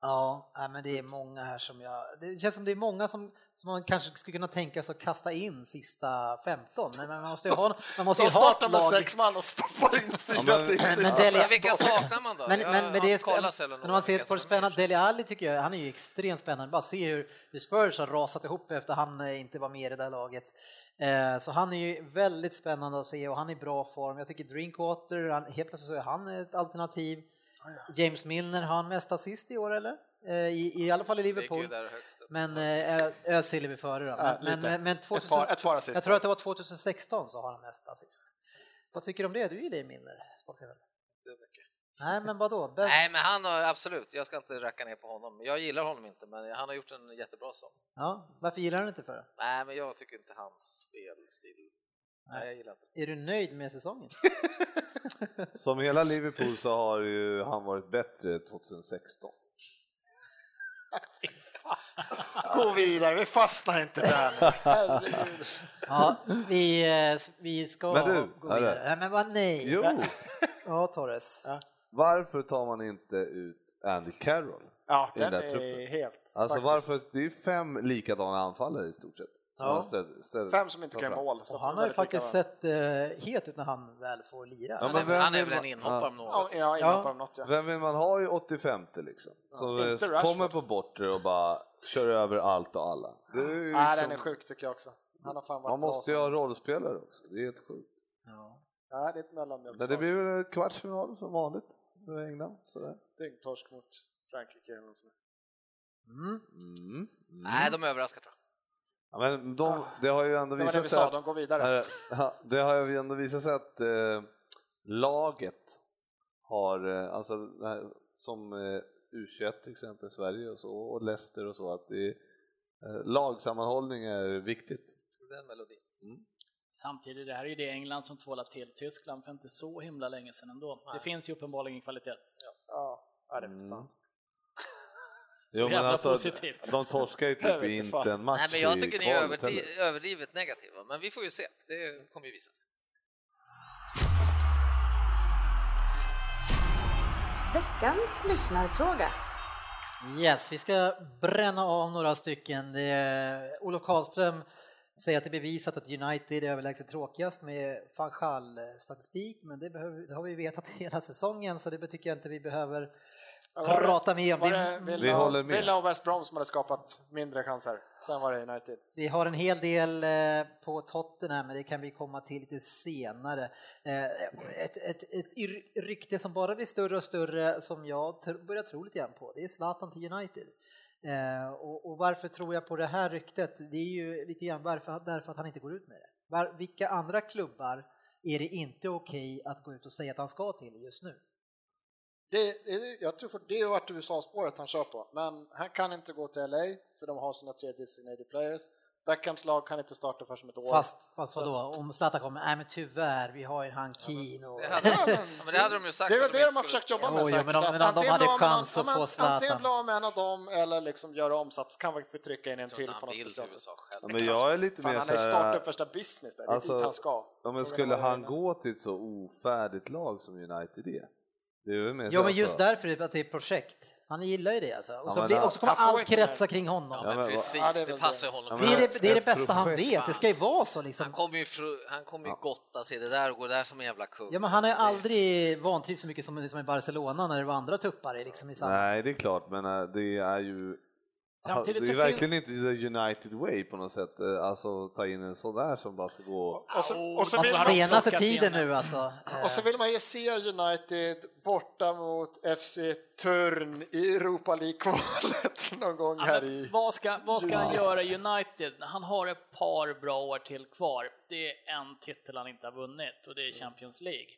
Speaker 2: Ja, nej, men det är många här som jag... Det känns som det är många som, som man kanske skulle kunna tänka sig att kasta in sista 15, men man måste ju ha, man måste
Speaker 3: De
Speaker 2: ju ha ett
Speaker 3: startar med
Speaker 2: lag.
Speaker 3: sex man liksom- och stoppar in fyra
Speaker 6: men-
Speaker 3: till
Speaker 2: Men
Speaker 3: sista.
Speaker 2: Dele-
Speaker 4: Ja, vilka saknar man då?
Speaker 2: Men,
Speaker 4: Jag
Speaker 2: men, men,
Speaker 4: har
Speaker 2: det
Speaker 4: inte kollat
Speaker 2: är,
Speaker 4: Sällan
Speaker 2: men om
Speaker 4: några
Speaker 2: man ser
Speaker 4: vilka
Speaker 2: på det
Speaker 4: som är
Speaker 2: spännande,
Speaker 4: med.
Speaker 2: Dele Alli tycker jag, han är ju extremt spännande, bara se hur hur Spurs har rasat ihop efter han eh, inte var med i det där laget. Eh, Så han är ju väldigt spännande att se och han är i bra form. Jag tycker Drinkwater, han, helt plötsligt så är han ett alternativ.
Speaker 4: Ah,
Speaker 2: James Milner, har han mest assist i år eller? Eh, I, i alla fall i
Speaker 4: Det ligger ju
Speaker 2: Liverpool.
Speaker 4: där högst upp.
Speaker 2: Men eh, Özil är vi före då.
Speaker 3: Ja,
Speaker 2: Men,
Speaker 3: lite.
Speaker 2: men, men
Speaker 3: Ett par,
Speaker 2: 2000,
Speaker 3: ett par assist.
Speaker 2: jag tror att det var 2016 så har han mest assist. Vad tycker du om det? Du gillar ju Milner, sportchefen. Nej men vadå? Bäst-
Speaker 4: Nej, men han har absolut, jag ska inte racka ner på honom. Jag gillar honom inte, men han har gjort en jättebra sång.
Speaker 2: Ja, varför gillar du inte för det?
Speaker 4: Nej, men jag tycker inte hans spelstil. Nej, jag gillar inte.
Speaker 2: Är du nöjd med säsongen?
Speaker 6: Som hela Liverpool så har ju han varit bättre 2016.
Speaker 3: Gå vidare, vi fastnar inte där nu. Herregud.
Speaker 2: Ja, vi, eh, vi ska
Speaker 6: Men du,
Speaker 2: gå
Speaker 6: hörru.
Speaker 2: vidare. Nej men vad nej!
Speaker 6: Jo,
Speaker 2: Ja Torres.
Speaker 6: varför tar man inte ut Andy Carroll?
Speaker 3: Ja,
Speaker 6: I den
Speaker 3: den
Speaker 6: där
Speaker 3: är
Speaker 6: truppen.
Speaker 3: helt...
Speaker 6: Alltså
Speaker 3: faktiskt.
Speaker 6: varför, det är ju fem likadana anfallare i stort sett. som
Speaker 2: Ja.
Speaker 6: har städ- städ-
Speaker 3: Fem som inte kan göra
Speaker 6: framför.
Speaker 3: mål. så
Speaker 2: Och
Speaker 3: att
Speaker 2: han
Speaker 3: de
Speaker 2: har ju
Speaker 3: väldigt lika
Speaker 2: faktiskt
Speaker 3: varandra.
Speaker 2: sett eh, het ut när han väl får lira.
Speaker 6: Ja,
Speaker 4: Han är,
Speaker 6: vem
Speaker 4: han är
Speaker 6: vill
Speaker 4: väl en
Speaker 6: man-
Speaker 4: inhoppare om något.
Speaker 3: Ja,
Speaker 2: Ja.
Speaker 3: ja, innan på något ja.
Speaker 6: Vem vill man ha i 85 liksom? Som
Speaker 3: Inte
Speaker 6: eh,
Speaker 3: Rashford.
Speaker 6: kommer på bortre och bara kör över allt och alla. Det är ju
Speaker 3: Nej, den
Speaker 6: liksom-
Speaker 3: är sjuk tycker jag också. Han har fan varit
Speaker 6: man måste ju
Speaker 3: bra.
Speaker 6: ha rollspelare också, det är helt sjukt.
Speaker 2: Ja.
Speaker 3: Jag... Nej, det är ett mellanmjölk.
Speaker 6: Men det blir väl en kvartsfinal som vanligt för England. Sådär.
Speaker 3: Dyngtorsk mot Frankrike eller något sånt.
Speaker 2: Mm.
Speaker 6: Mm.
Speaker 4: Nej, de överraskar tror jag.
Speaker 6: Ja, men de, det har ju ändå
Speaker 3: Det var det
Speaker 6: visat
Speaker 3: vi
Speaker 6: sig
Speaker 3: sa,
Speaker 6: att
Speaker 3: de går vidare.
Speaker 6: Här- Eh, ja, det har ju ändå visat sig att eh, laget har, eh, alltså det här, som eh, U21 till exempel, Sverige och så, och Leicester och så, att det är, eh, lagsammanhållning är viktigt.
Speaker 4: Den melodin.
Speaker 5: Samtidigt, det här är ju det England som tvålar till Tyskland för inte så himla länge sedan ändå. Det finns ju uppenbarligen kvalitet.
Speaker 3: Ja, ja, det
Speaker 6: Mm.
Speaker 3: vet Mm. fan.
Speaker 5: Så jävla positivt.
Speaker 6: alltså, De torskar ju
Speaker 3: Jag
Speaker 6: typ
Speaker 3: vet
Speaker 6: i
Speaker 3: inte
Speaker 6: inte
Speaker 3: fan.
Speaker 6: en match
Speaker 4: Nej, men jag
Speaker 6: i
Speaker 4: tycker ni är
Speaker 6: kvalet heller.
Speaker 4: överdri- överdrivet negativa, men vi får ju se. Det kommer ju visa sig.
Speaker 1: Veckans lyssnarfråga.
Speaker 2: Yes, vi ska bränna av några stycken. Det är- Olof Karlström säger att det är bevisat att United är överlägset tråkigast med van Gaal-statistik, men det, behöver, det har vi vetat hela säsongen så det tycker jag inte vi behöver
Speaker 3: var det-
Speaker 2: prata mer om.
Speaker 3: Var
Speaker 2: Det-
Speaker 3: det Villa,
Speaker 6: Vi håller med.
Speaker 3: Villa och West Brom som hade skapat mindre chanser. Sen var det United.
Speaker 2: Vi har en hel del eh, på Tottenham, men det kan vi komma till lite senare. Eh, Ett, ett, ett yr- rykte som bara blir större och större som jag tr- börjar tro lite grann på, det är Zlatan till United. Eh, Och, och varför tror jag på det här ryktet? Det är ju lite grann varför, därför att han inte går ut med det. Var, vilka andra klubbar är det inte okej att gå ut och säga att han ska till just nu?
Speaker 3: Det, det, jag tror för det har varit USA-spåret han kör på, men han kan inte gå till LA för de har sina tre designated players. Beckhams lag kan inte starta förrän om ett år.
Speaker 2: Fast, fast vadå, om Zlatan kommer, nej men tyvärr, vi har ju han Keane och...
Speaker 4: Det hade, ja, men det hade de ju sagt.
Speaker 3: Det är väl
Speaker 4: att
Speaker 3: det
Speaker 4: inte
Speaker 3: de har
Speaker 4: skulle-
Speaker 3: försökt jobba med
Speaker 2: Jo, jo,
Speaker 3: säkert.
Speaker 2: men de-
Speaker 3: att
Speaker 2: men de
Speaker 3: antingen
Speaker 2: hade
Speaker 3: bli av med
Speaker 2: chans att
Speaker 3: någon- ja,
Speaker 2: få
Speaker 3: men
Speaker 2: Zlatan.
Speaker 3: Antingen bli av med en av dem eller liksom göra om så att kan vi trycka in en
Speaker 4: Jag tror
Speaker 3: till
Speaker 4: inte
Speaker 3: på
Speaker 4: han
Speaker 3: något
Speaker 4: vill till
Speaker 3: speciellt.
Speaker 4: USA själv.
Speaker 6: Ja, men jag är lite
Speaker 3: Fan,
Speaker 6: mer
Speaker 3: han har ju
Speaker 6: så
Speaker 3: startat
Speaker 6: här,
Speaker 3: upp första business där, det är
Speaker 6: Alltså,
Speaker 3: dit han ska.
Speaker 6: ja, men
Speaker 3: Frågan
Speaker 6: skulle
Speaker 3: är vad
Speaker 6: han
Speaker 3: det är.
Speaker 6: gå till ett så ofärdigt lag som United är? Det är väl mer
Speaker 2: Ja
Speaker 6: så
Speaker 2: men
Speaker 6: här,
Speaker 2: just
Speaker 6: så-
Speaker 2: därför är det att det är ett projekt. Han gillar ju det alltså. Och
Speaker 6: Ja,
Speaker 2: så,
Speaker 6: men
Speaker 2: blir,
Speaker 6: han-
Speaker 2: och så kommer
Speaker 3: han
Speaker 2: allt
Speaker 3: får inte det.
Speaker 2: kretsa kring honom.
Speaker 4: Ja, men
Speaker 6: men-
Speaker 4: precis,
Speaker 3: Ja, det är
Speaker 4: det
Speaker 3: väl
Speaker 4: passar ju
Speaker 6: Ja,
Speaker 4: honom.
Speaker 6: men-
Speaker 2: det, är det, det är det
Speaker 6: ett
Speaker 2: bästa han
Speaker 6: projekt.
Speaker 2: vet, det ska ju vara så liksom.
Speaker 4: Han kommer ju, fru- han kommer ju gotta sig i det där och gå där som en jävla kung.
Speaker 2: Ja men han har ju aldrig vantrivts så mycket som, som i Barcelona när det var andra tuppar i, liksom i samma...
Speaker 6: Nej, det är klart, men eh, det är ju
Speaker 5: Samtidigt
Speaker 6: det är
Speaker 5: så
Speaker 6: verkligen inte the United way på något sätt, eh, alltså ta in en sån där som bara ska gå...
Speaker 3: Och så, och så
Speaker 5: Au,
Speaker 3: vill man
Speaker 5: vad har de
Speaker 2: Senaste
Speaker 5: plockat
Speaker 2: tiden
Speaker 5: igen?
Speaker 2: nu alltså.
Speaker 3: Och så vill man ju se United borta mot FC Turn i Europa League-kvalet någon gång
Speaker 5: Ja,
Speaker 3: här
Speaker 5: men
Speaker 3: i...
Speaker 5: vad ska, vad ska han göra i United? Han har ett par bra år till kvar. Det är en titel han inte har vunnit och det är
Speaker 3: Mm.
Speaker 5: Champions League.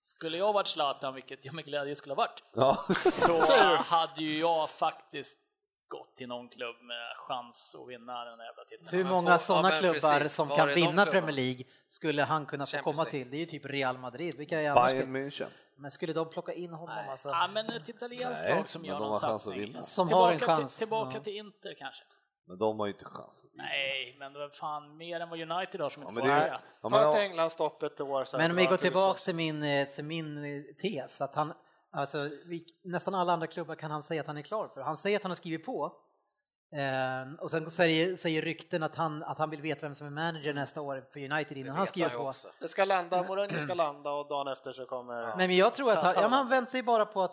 Speaker 5: Skulle jag varit Zlatan, vilket jag med glädje skulle ha varit,
Speaker 6: Ja.
Speaker 5: så hade ju jag faktiskt gått till någon klubb med chans att vinna den där jävla titeln.
Speaker 2: Hur
Speaker 5: Men
Speaker 2: många
Speaker 4: får-
Speaker 2: sådana
Speaker 4: ja, men
Speaker 2: klubbar
Speaker 4: precis.
Speaker 2: som
Speaker 4: Var
Speaker 2: kan
Speaker 4: är de
Speaker 2: vinna
Speaker 4: klubbarna?
Speaker 2: Premier League skulle han kunna få
Speaker 4: Champions
Speaker 2: komma
Speaker 4: League.
Speaker 2: till? Det är ju typ Real Madrid, vilka är annars?
Speaker 6: Bayern München.
Speaker 2: Men skulle de plocka in honom alltså?
Speaker 4: Ah,
Speaker 5: Ja, men ett italienskt
Speaker 6: Nej,
Speaker 5: lag som
Speaker 6: men
Speaker 5: gör
Speaker 6: de
Speaker 5: någon
Speaker 6: har chans att
Speaker 5: satsning.
Speaker 6: vinna.
Speaker 2: Som har
Speaker 5: tillbaka
Speaker 2: en chans,
Speaker 5: Till, tillbaka
Speaker 2: ja.
Speaker 5: till Inter kanske.
Speaker 6: Men de har ju inte chans.
Speaker 5: Nej, men det var fan mer än vad United har som
Speaker 6: Ja,
Speaker 5: inte
Speaker 6: men
Speaker 5: får
Speaker 6: det är-
Speaker 5: välja.
Speaker 6: Ja, men
Speaker 3: Ta ett
Speaker 6: jag-
Speaker 3: Englandsstoppet i år. så här,
Speaker 2: Men om vi
Speaker 3: bara
Speaker 2: går
Speaker 3: till USA.
Speaker 2: tillbaks till min, eh, till min eh, tes, att han, alltså, vi, nästan alla andra klubbar kan han säga att han är klar för. Han säger att han har skrivit på. Eh, och sen säger, säger rykten att han, att han vill veta vem som är manager nästa år för United innan han
Speaker 4: vet
Speaker 2: skriver
Speaker 4: ju
Speaker 2: på.
Speaker 4: också.
Speaker 3: Det ska landa, Mourinho ska landa och dagen efter så kommer...
Speaker 2: Nej, men jag tror att han, ja, men han
Speaker 3: Stanshallen.
Speaker 2: väntar ju bara på att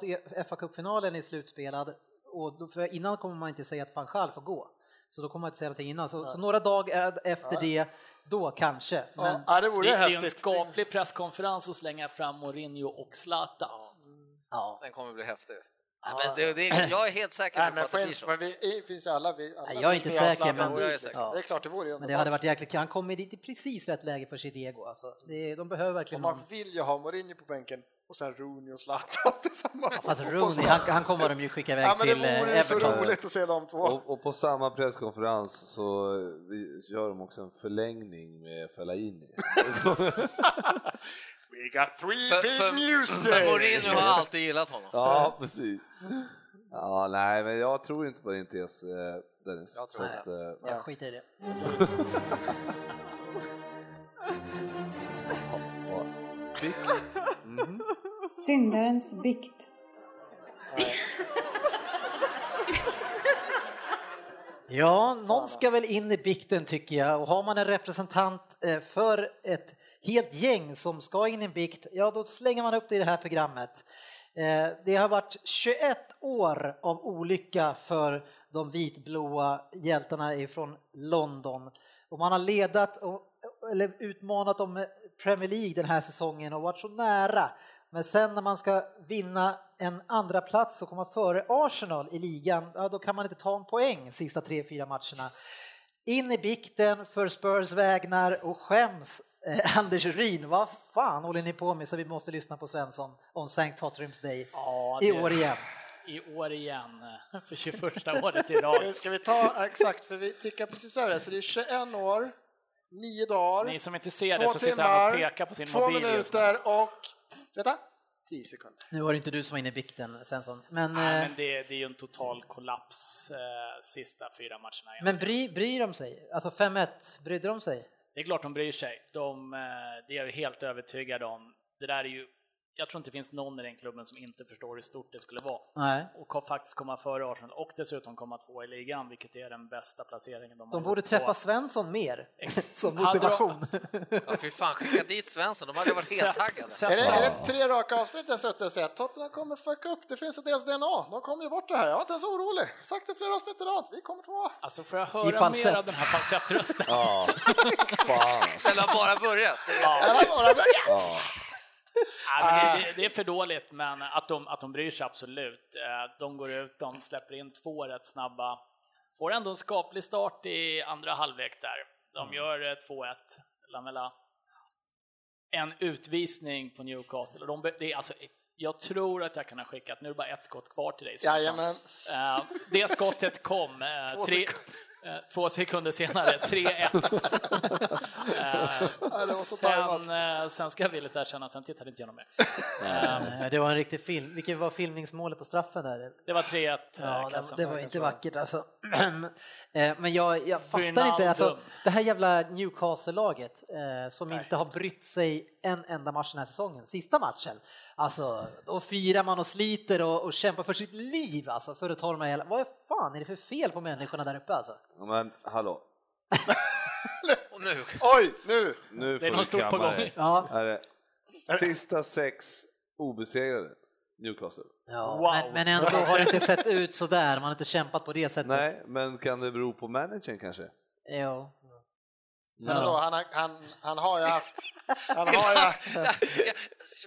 Speaker 2: fa Cup-finalen är slutspelad och då, för innan kommer man inte säga att van Gaal får gå. Så då kommer man inte säga någonting innan. Så, så några dagar efter det, då kanske. Men,
Speaker 3: Ja, ja, det vore
Speaker 5: Det är ju en
Speaker 3: häftigt.
Speaker 5: skaplig presskonferens att slänga fram Mourinho och Zlatan.
Speaker 2: ja.
Speaker 4: Den kommer bli häftig. Nej, men det, det, jag är helt säker
Speaker 3: Nej,
Speaker 4: på
Speaker 3: men
Speaker 4: att det blir
Speaker 3: finns,
Speaker 4: så.
Speaker 3: men vi, i- finns ju alla, vi, alla
Speaker 2: Nej, jag är inte
Speaker 3: vill ha
Speaker 2: säker,
Speaker 3: Zlatan
Speaker 2: men-
Speaker 3: och
Speaker 4: Jo, jag är
Speaker 3: dit,
Speaker 4: säker.
Speaker 3: liksom. Det är klart, det vore ju
Speaker 2: Men det hade
Speaker 3: underbart.
Speaker 2: varit jäkligt Han kommer dit i precis rätt läge för sitt ego. Alltså. Det, de behöver
Speaker 3: Och
Speaker 2: verkligen någon.
Speaker 3: Man vill ju ha Mourinho på bänken och sen Rooney och Zlatan tillsammans.
Speaker 2: Fast
Speaker 3: Och- och-
Speaker 2: Rooney, han, han kommer de ju skicka iväg
Speaker 3: ja, men
Speaker 2: till
Speaker 3: Det
Speaker 2: eh,
Speaker 3: vore ju så
Speaker 2: Everton.
Speaker 3: roligt att se de två.
Speaker 6: Och, och på samma presskonferens så eh, vi gör de också en förlängning med Fellaini.
Speaker 3: We got three
Speaker 4: För,
Speaker 3: big
Speaker 4: för,
Speaker 3: news
Speaker 4: för
Speaker 3: today.
Speaker 4: Mourinho har alltid gillat honom.
Speaker 6: ja, precis. Ja, nej, men jag tror inte på din tes eh, Dennis.
Speaker 4: Jag tror
Speaker 6: Så
Speaker 4: det.
Speaker 6: att, eh,
Speaker 2: Jag skiter i det.
Speaker 6: ja. Mhm.
Speaker 1: Syndarens bikt.
Speaker 2: Ja, någon ska väl in i bikten tycker jag. Och har man en representant eh, för ett helt gäng som ska in i en bikt, ja då slänger man upp det i det här programmet. Eh, Det har varit 21 år av olycka för de vitblåa hjältarna ifrån London. Och man har ledat och, eller utmanat om Premier League den här säsongen och varit så nära. Men sen när man ska vinna en andra plats och komma före Arsenal i ligan, ja, då kan man inte ta en poäng sista tre, fyra matcherna. In i bikten för Spurs vägnar och skäms eh, Anders Ryn, vad fan håller ni på med så vi måste lyssna på Svensson om Sankt Patrick's Day
Speaker 5: Ja,
Speaker 2: i
Speaker 5: det-
Speaker 2: år igen.
Speaker 5: I år igen, för 21 året i rad.
Speaker 3: Ska vi ta exakt, för vi tickar precis över det, så det är 21 år, 9 dagar,
Speaker 5: Ni som inte ser det
Speaker 3: två
Speaker 5: så sitter han och
Speaker 3: timmar,
Speaker 5: pekar på sin
Speaker 3: två
Speaker 5: mobil just nu.
Speaker 3: minuter och... Vänta, 10 sekunder.
Speaker 2: Nu var det inte du som var inne i bikten Svensson, men,
Speaker 5: Nej,
Speaker 2: eh,
Speaker 5: men det, det är ju en total kollaps eh, sista fyra matcherna. igen.
Speaker 2: men bry, bryr de sig? Alltså 5-1, brydde de sig?
Speaker 5: Det är klart de bryr sig. De, eh, det är jag ju helt övertygad om. Det där är ju, jag tror inte det finns någon i den klubben som inte förstår hur stort det skulle vara.
Speaker 2: Nej.
Speaker 5: Och kom- faktiskt komma före Arsenal och dessutom komma två i ligan, vilket är den bästa placeringen de,
Speaker 2: De
Speaker 5: har
Speaker 2: borde
Speaker 5: gjort på-
Speaker 2: träffa Svensson mer
Speaker 5: Ex-
Speaker 2: som
Speaker 5: Hade de-
Speaker 2: motivation.
Speaker 4: Ja, fy fan, skicka dit Svensson, de hade varit helt taggade.
Speaker 5: Sätt-
Speaker 3: Är det, är
Speaker 5: sätt-
Speaker 3: det tre raka avsnitt jag suttit och sagt att Tottenham kommer fucka upp, det finns i deras DNA, de kommer ju bort det här, jag var inte ens orolig, sagt det flera avsnitt i rad, vi kommer tvåa.
Speaker 5: Alltså får jag
Speaker 2: I
Speaker 5: höra
Speaker 2: falsett.
Speaker 5: mer av den här falsettrösten?
Speaker 6: Ja, fan. alltså.
Speaker 4: Eller har bara börjat. Det är-
Speaker 3: Det här var bara början.
Speaker 6: Ja.
Speaker 5: Nej,
Speaker 3: Ah.
Speaker 5: men det, det, det är för dåligt, men att de, att de bryr sig absolut. Eh, De går ut, de släpper in två rätt snabba. Får ändå en skaplig start i andra halvlek där. De
Speaker 3: Mm.
Speaker 5: gör eh, 2-1, Lamela. En utvisning på Newcastle. Och de, be- det är alltså, jag tror att jag kan ha skickat, nu är det bara ett skott kvar till dig. Svensson.
Speaker 3: Jajamän.
Speaker 5: Eh, Det skottet kom. eh,
Speaker 3: Två
Speaker 5: tre, eh, två sekunder senare, 3-1. Eh,
Speaker 3: det var så
Speaker 5: sen, eh, sen ska jag villigt erkänna att sen tittade inte jag någon mer. Eh,
Speaker 2: Nej, Det var en riktig film. Vilket var filmningsmålet på straffen där?
Speaker 5: Det var eh, 3-1
Speaker 2: Ja,
Speaker 5: ja,
Speaker 2: det, det var inte vackert alltså. Eh, Men jag, jag fattar
Speaker 5: Ronaldo.
Speaker 2: inte, alltså, det här jävla Newcastle-laget eh, som inte har brytt sig en enda match den här säsongen, sista matchen. Alltså, då firar man och sliter och, och kämpar för sitt liv alltså, för att ta de här jävla... Vad fan är det för fel på människorna där uppe alltså?
Speaker 6: Men hallå,
Speaker 4: Och nu,
Speaker 3: Oj, nu!
Speaker 6: nu
Speaker 5: Det är
Speaker 6: får
Speaker 5: något
Speaker 6: du
Speaker 5: stort på
Speaker 6: kamma
Speaker 5: gång.
Speaker 6: dig.
Speaker 2: Ja,
Speaker 6: Är det Sista sex obesegrade Newcastle.
Speaker 2: ja
Speaker 5: Wow.
Speaker 2: men, men ändå har det inte sett ut så där. man har inte kämpat på det sättet.
Speaker 6: Nej, men kan det bero på managern kanske?
Speaker 2: Jo.
Speaker 3: Men då, han, har- han, han har ju haft... Han har ju,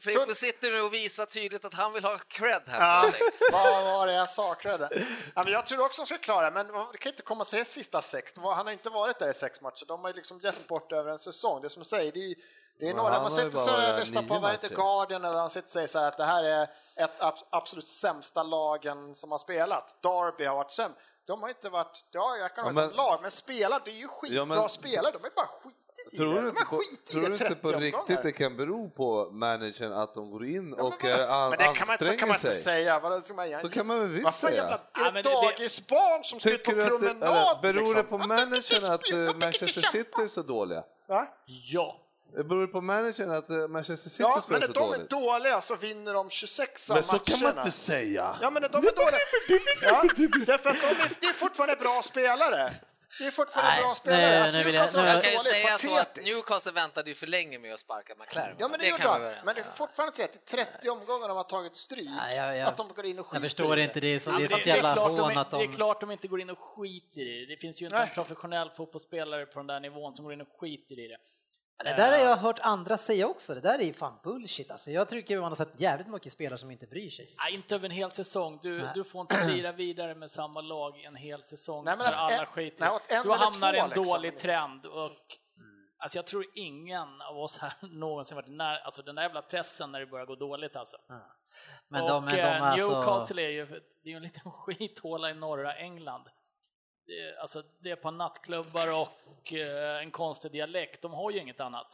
Speaker 4: Frippe sitter nu och visar tydligt att han vill ha cred här. för någonting.
Speaker 3: vad var det jag saknade? Ja, men jag tror också de ska klara men det kan inte komma sig sista sex. De var- Han har inte varit där i sex matcher. De har ju liksom gett bort över en säsong. Det är som du säger, det är, det är
Speaker 6: Men
Speaker 3: några,
Speaker 6: han
Speaker 3: man
Speaker 6: har ju
Speaker 3: sitter
Speaker 6: bara
Speaker 3: så
Speaker 6: varit
Speaker 3: och
Speaker 6: där
Speaker 3: lyssnar på,
Speaker 6: nio
Speaker 3: vad heter
Speaker 6: matcher.
Speaker 3: Guardian, eller han sitter och säger så här att det här är ett ab- absolut sämsta lagen som har spelat. Derby har varit sämst. De har inte varit, ja jag kan
Speaker 6: Ja,
Speaker 3: ha men,
Speaker 6: men-
Speaker 3: lag, men spelare, det är ju skitbra
Speaker 6: Ja, men-
Speaker 3: spelare, de är bara skit i
Speaker 6: Tror
Speaker 3: det.
Speaker 6: du
Speaker 3: De
Speaker 6: inte
Speaker 3: är
Speaker 6: på,
Speaker 3: skit i
Speaker 6: tror
Speaker 3: det
Speaker 6: du
Speaker 3: 30
Speaker 6: inte på riktigt
Speaker 3: omgångar.
Speaker 6: det kan bero på managern att de går in
Speaker 3: Ja, men
Speaker 6: och
Speaker 3: vadå?
Speaker 6: eh, an,
Speaker 3: Men det kan man, så
Speaker 6: anstränger
Speaker 3: kan man inte
Speaker 6: sig?
Speaker 3: säga. Vad, ska man,
Speaker 6: Så kan man väl visst
Speaker 3: Vad fan
Speaker 6: säga.
Speaker 3: jävla
Speaker 5: Ja,
Speaker 3: är
Speaker 5: men
Speaker 3: det
Speaker 5: det-
Speaker 3: dagisbarn som ska ut på
Speaker 6: Tycker du att det, eller,
Speaker 3: promenad?
Speaker 6: beror det
Speaker 3: liksom?
Speaker 6: på
Speaker 3: Jag tänker inte
Speaker 6: managern att
Speaker 3: spela,
Speaker 6: eh,
Speaker 3: jag tänker
Speaker 6: Manchester
Speaker 3: inte
Speaker 6: City
Speaker 3: kämpa.
Speaker 6: är så dåliga?
Speaker 3: Va?
Speaker 5: Ja.
Speaker 6: Det beror på managern att eh, Manchester City
Speaker 3: Ja, men
Speaker 6: spelar
Speaker 3: när
Speaker 6: så
Speaker 3: de är
Speaker 6: dåligt?
Speaker 3: dåliga så vinner de 26
Speaker 6: Men
Speaker 3: matcherna.
Speaker 6: så kan man inte säga!
Speaker 3: Ja, men när de är dåliga... Ja, därför att de är, det är fortfarande bra spelare. Det är fortfarande
Speaker 2: Nej,
Speaker 3: bra spelare.
Speaker 2: nej,
Speaker 3: Att
Speaker 2: nu vill jag-
Speaker 3: Newcastle
Speaker 2: nu-
Speaker 3: är
Speaker 4: Jag kan ju
Speaker 3: dåligt,
Speaker 4: säga så att
Speaker 3: patetiskt.
Speaker 4: Newcastle väntade ju för länge med att sparka McLaren.
Speaker 3: Ja, men det,
Speaker 4: kan
Speaker 3: gjorde
Speaker 4: vi vara
Speaker 3: de.
Speaker 4: överens
Speaker 3: Men
Speaker 4: om.
Speaker 3: det är fortfarande så att i 30 omgångar de har tagit stryk.
Speaker 2: Nej, jag- jag-
Speaker 3: att de går in och skiter
Speaker 2: Jag förstår
Speaker 3: i
Speaker 2: inte, det är, så,
Speaker 5: Ja,
Speaker 2: det är
Speaker 5: men
Speaker 2: sånt
Speaker 5: Alltså, det är
Speaker 2: jävla
Speaker 5: klart de
Speaker 2: hån
Speaker 5: inte-
Speaker 2: att
Speaker 5: Det
Speaker 2: de...
Speaker 5: är klart de inte går in och skiter i det. Det finns ju inte
Speaker 3: Nej.
Speaker 5: en professionell fotbollsspelare på den där nivån som går in och skiter i det.
Speaker 2: Det där har jag hört andra säga också, det där är ju fan bullshit alltså. Jag tycker man har sett jävligt mycket spelare som inte bryr sig.
Speaker 5: Nej, inte över en hel säsong. Du,
Speaker 2: Nej.
Speaker 5: du får inte lira vidare med samma lag en hel säsong
Speaker 3: Nej, men
Speaker 5: när
Speaker 3: att
Speaker 5: alla
Speaker 3: en-
Speaker 5: skiter
Speaker 3: nej, att en
Speaker 5: Du
Speaker 3: eller
Speaker 5: hamnar i
Speaker 3: två
Speaker 5: en
Speaker 3: liksom.
Speaker 5: dålig trend och alltså, jag tror ingen av oss här någonsin varit nära, alltså den där jävla pressen när det börjar gå dåligt alltså.
Speaker 2: Men
Speaker 5: och
Speaker 2: de, de, de
Speaker 5: eh,
Speaker 2: alltså...
Speaker 5: Newcastle är ju, det är ju en liten skithåla i norra England. Det är, alltså, det är på nattklubbar och eh, en konstig dialekt, de har ju inget annat.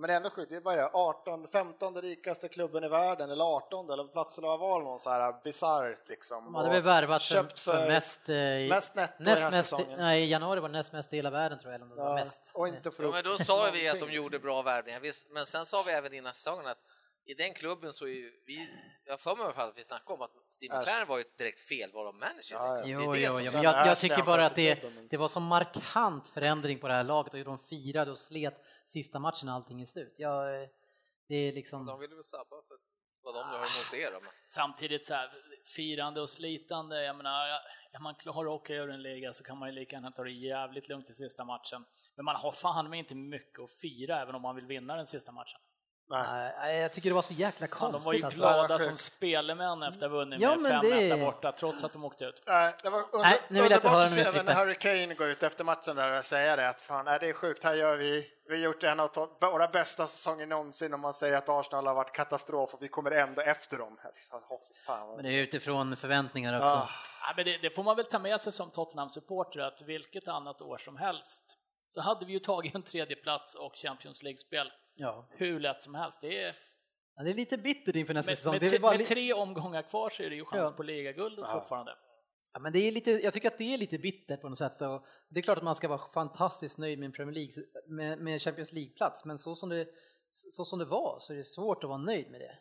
Speaker 3: Men det är ändå sjukt, det är bara 18, 15 rikaste klubben i världen, eller 18 eller platsen av val någon så här bisarrt liksom.
Speaker 2: De hade
Speaker 3: Och
Speaker 2: väl värvat för,
Speaker 3: köpt
Speaker 2: för mest... eh, i-
Speaker 3: mest netto i den här
Speaker 2: näst mest,
Speaker 3: säsongen.
Speaker 2: Nej, i januari var det näst mest i hela världen tror jag, eller om det var
Speaker 3: ja,
Speaker 2: mest.
Speaker 3: Och inte för
Speaker 4: Jo, men då sa ju vi att de gjorde bra värvningar, visst. men sen sa vi även innan säsongen att i den klubben så är ju vi, jag har för mig i alla fall att vi snackade om att Steve McLaren var ju ett direkt felval av manager.
Speaker 3: Ja, ja.
Speaker 2: Jo,
Speaker 4: det
Speaker 2: jo,
Speaker 4: som-
Speaker 2: jo, men
Speaker 3: sen
Speaker 2: jag,
Speaker 3: är
Speaker 2: jag
Speaker 3: sen
Speaker 2: tycker bara att det,
Speaker 3: självklart, men-
Speaker 2: det var så markant förändring på det här laget och hur de firade och slet sista matchen när allting är slut. Jag, eh, det är
Speaker 4: De
Speaker 2: liksom...
Speaker 4: ville väl sabba för vad de nu har emot er då. men-
Speaker 5: Samtidigt så här, firande och slitande, jag menar, är man klar och åker ur en liga så kan man ju lika gärna ta det jävligt lugnt i sista matchen. Men man har fan med inte mycket att fira även om man vill vinna den sista matchen.
Speaker 2: Nej, jag tycker det var så jäkla
Speaker 5: Fan, de var ju
Speaker 2: konstigt alltså.
Speaker 5: glada
Speaker 3: Sjukt.
Speaker 5: som spelmän efter att ha vunnit
Speaker 2: Ja,
Speaker 5: med
Speaker 2: men det
Speaker 5: 5-1 där
Speaker 2: är-
Speaker 5: borta, trots att de åkte ut.
Speaker 3: Nej, det var under,
Speaker 2: Nej, nu vill jag inte
Speaker 3: underbart
Speaker 2: höra
Speaker 3: att
Speaker 2: mer,
Speaker 3: se när
Speaker 2: Frippe.
Speaker 3: Harry Kane går ut efter matchen där och säger det att fan, nej, det är sjukt, här gör vi, vi har gjort en av to- våra bästa säsonger någonsin om man säger att Arsenal har varit katastrof och vi kommer ändå efter dem. Åh, fy fan, vad-
Speaker 2: Men det är utifrån förväntningar också.
Speaker 3: Ah.
Speaker 5: Ja, men det, det får man väl ta med sig som Tottenham-supporter att vilket annat år som helst så hade vi ju tagit en tredje plats och Champions League-spel
Speaker 2: Ja.
Speaker 5: hur lätt som helst. Det är,
Speaker 2: Ja, det är lite bittert inför nästa
Speaker 5: med,
Speaker 2: säsong.
Speaker 5: med,
Speaker 2: det är
Speaker 5: tre,
Speaker 2: väl bara
Speaker 5: med
Speaker 2: li-
Speaker 5: tre omgångar kvar så är det ju chans
Speaker 2: Ja.
Speaker 5: på ligaguldet fortfarande.
Speaker 2: ja, men det är lite, jag tycker att det är lite bittert på något sätt. Och det är klart att man ska vara fantastiskt nöjd med en Premier League, med, med Champions League-plats, men så som, det, så som det var så är det svårt att vara nöjd med det.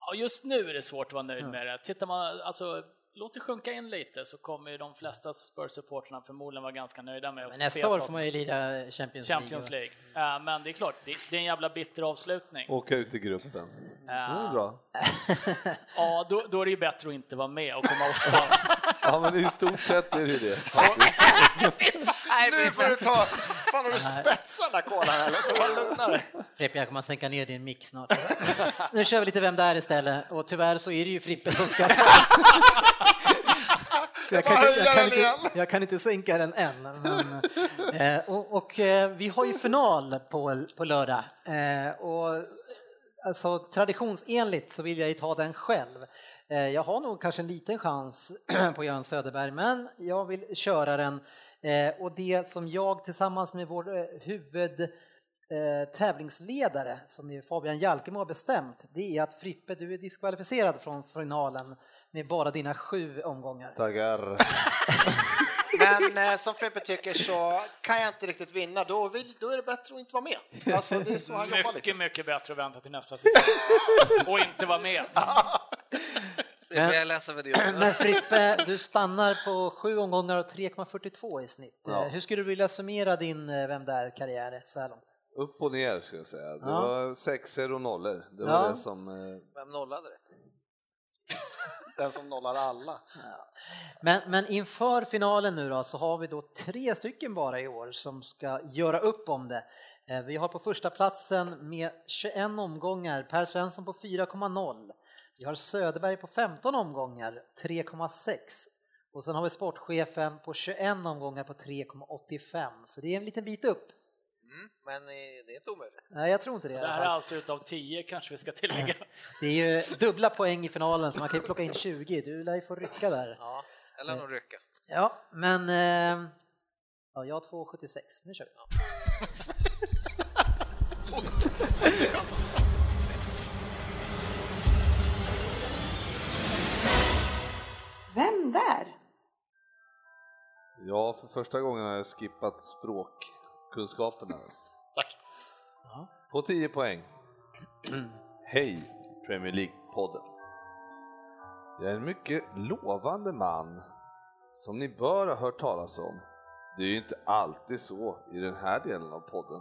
Speaker 5: Ja, just nu är det svårt att vara nöjd med det. Tittar man, alltså, låt det sjunka in lite så kommer ju de flesta Spurs-supportrarna förmodligen vara ganska nöjda med
Speaker 2: Men
Speaker 5: att
Speaker 2: nästa
Speaker 5: se
Speaker 2: år
Speaker 5: Tottenham-
Speaker 2: får man ju lira Champions,
Speaker 5: Champions League. Ja, men det är klart, det, det är en jävla bitter avslutning.
Speaker 6: Åka ut i gruppen.
Speaker 2: Mm.
Speaker 6: Det är bra.
Speaker 5: Ja, då, då är det ju bättre att inte vara med och komma åtta.
Speaker 6: Ja, men i stort sett är det ju det.
Speaker 4: Nej,
Speaker 3: Nu får
Speaker 4: men,
Speaker 3: du ta, fan har du spetsat den här kolan eller? Får du vara lugnare?
Speaker 2: Frippe, jag kommer att sänka ner din mick snart. nu kör vi lite Vem där istället och tyvärr så är det ju Frippe som ska ta Så jag, kan
Speaker 3: Vad
Speaker 2: inte, jag, kan
Speaker 3: höjer den
Speaker 2: inte, jag kan inte sänka den än. Men, eh, och, och eh, vi har ju final på, på lördag. Eh, och, alltså, traditionsenligt så vill jag ju ta den själv. Eh, jag har nog kanske en liten chans på Göran Söderberg, men jag vill köra den. Eh, och det som jag tillsammans med vår eh, huvud eh, tävlingsledare som är Fabian Jalkemo har bestämt det är att Frippe du är diskvalificerad från finalen med bara dina sju omgångar.
Speaker 6: Taggar.
Speaker 3: Men eh, som Frippe tycker så kan jag inte riktigt vinna, då, vill, då är det bättre att inte vara med. Alltså, det är så han jobbar lite.
Speaker 5: Mycket, mycket bättre att vänta till nästa säsong och inte vara med.
Speaker 4: jag är ledsen för det.
Speaker 2: Men Frippe, du stannar på sju omgångar och 3,42 i snitt.
Speaker 6: Ja.
Speaker 2: Eh, Hur skulle du vilja summera din eh, Vem där-karriär så här långt?
Speaker 6: Upp och ner ska jag säga. Det
Speaker 2: Ja.
Speaker 6: var sexer och nollor. Det var
Speaker 2: Ja.
Speaker 6: det som... eh,
Speaker 4: Vem nollade det?
Speaker 3: Den som nollar alla.
Speaker 2: Men, men inför finalen nu då så har vi då tre stycken bara i år som ska göra upp om det. Eh, Vi har på första platsen med 21 omgångar Per Svensson på 4,0. Vi har Söderberg på 15 omgångar 3,6. Och sen har vi sportchefen på 21 omgångar på 3,85 så det är en liten bit upp.
Speaker 4: Mm, men eh, det är inte omöjligt.
Speaker 2: Nej, jag tror inte det. i
Speaker 5: Det
Speaker 2: alla
Speaker 5: här
Speaker 2: fall.
Speaker 5: är alltså utav tio kanske vi ska tillägga.
Speaker 2: Det är ju dubbla poäng i finalen så man kan ju plocka in 20. Du lär ju få rycka där.
Speaker 4: Ja, eller någon rycka.
Speaker 2: Ja, men... Eh, ja, jag har 2,76. Nu kör vi.
Speaker 1: Vem där?
Speaker 6: Ja, för första gången har jag skippat språkkunskaperna.
Speaker 3: Tack.
Speaker 6: På 10 poäng. Hej Premier League-podden. Jag är en mycket lovande man som ni bör ha hört talas om. Det är ju inte alltid så i den här delen av podden.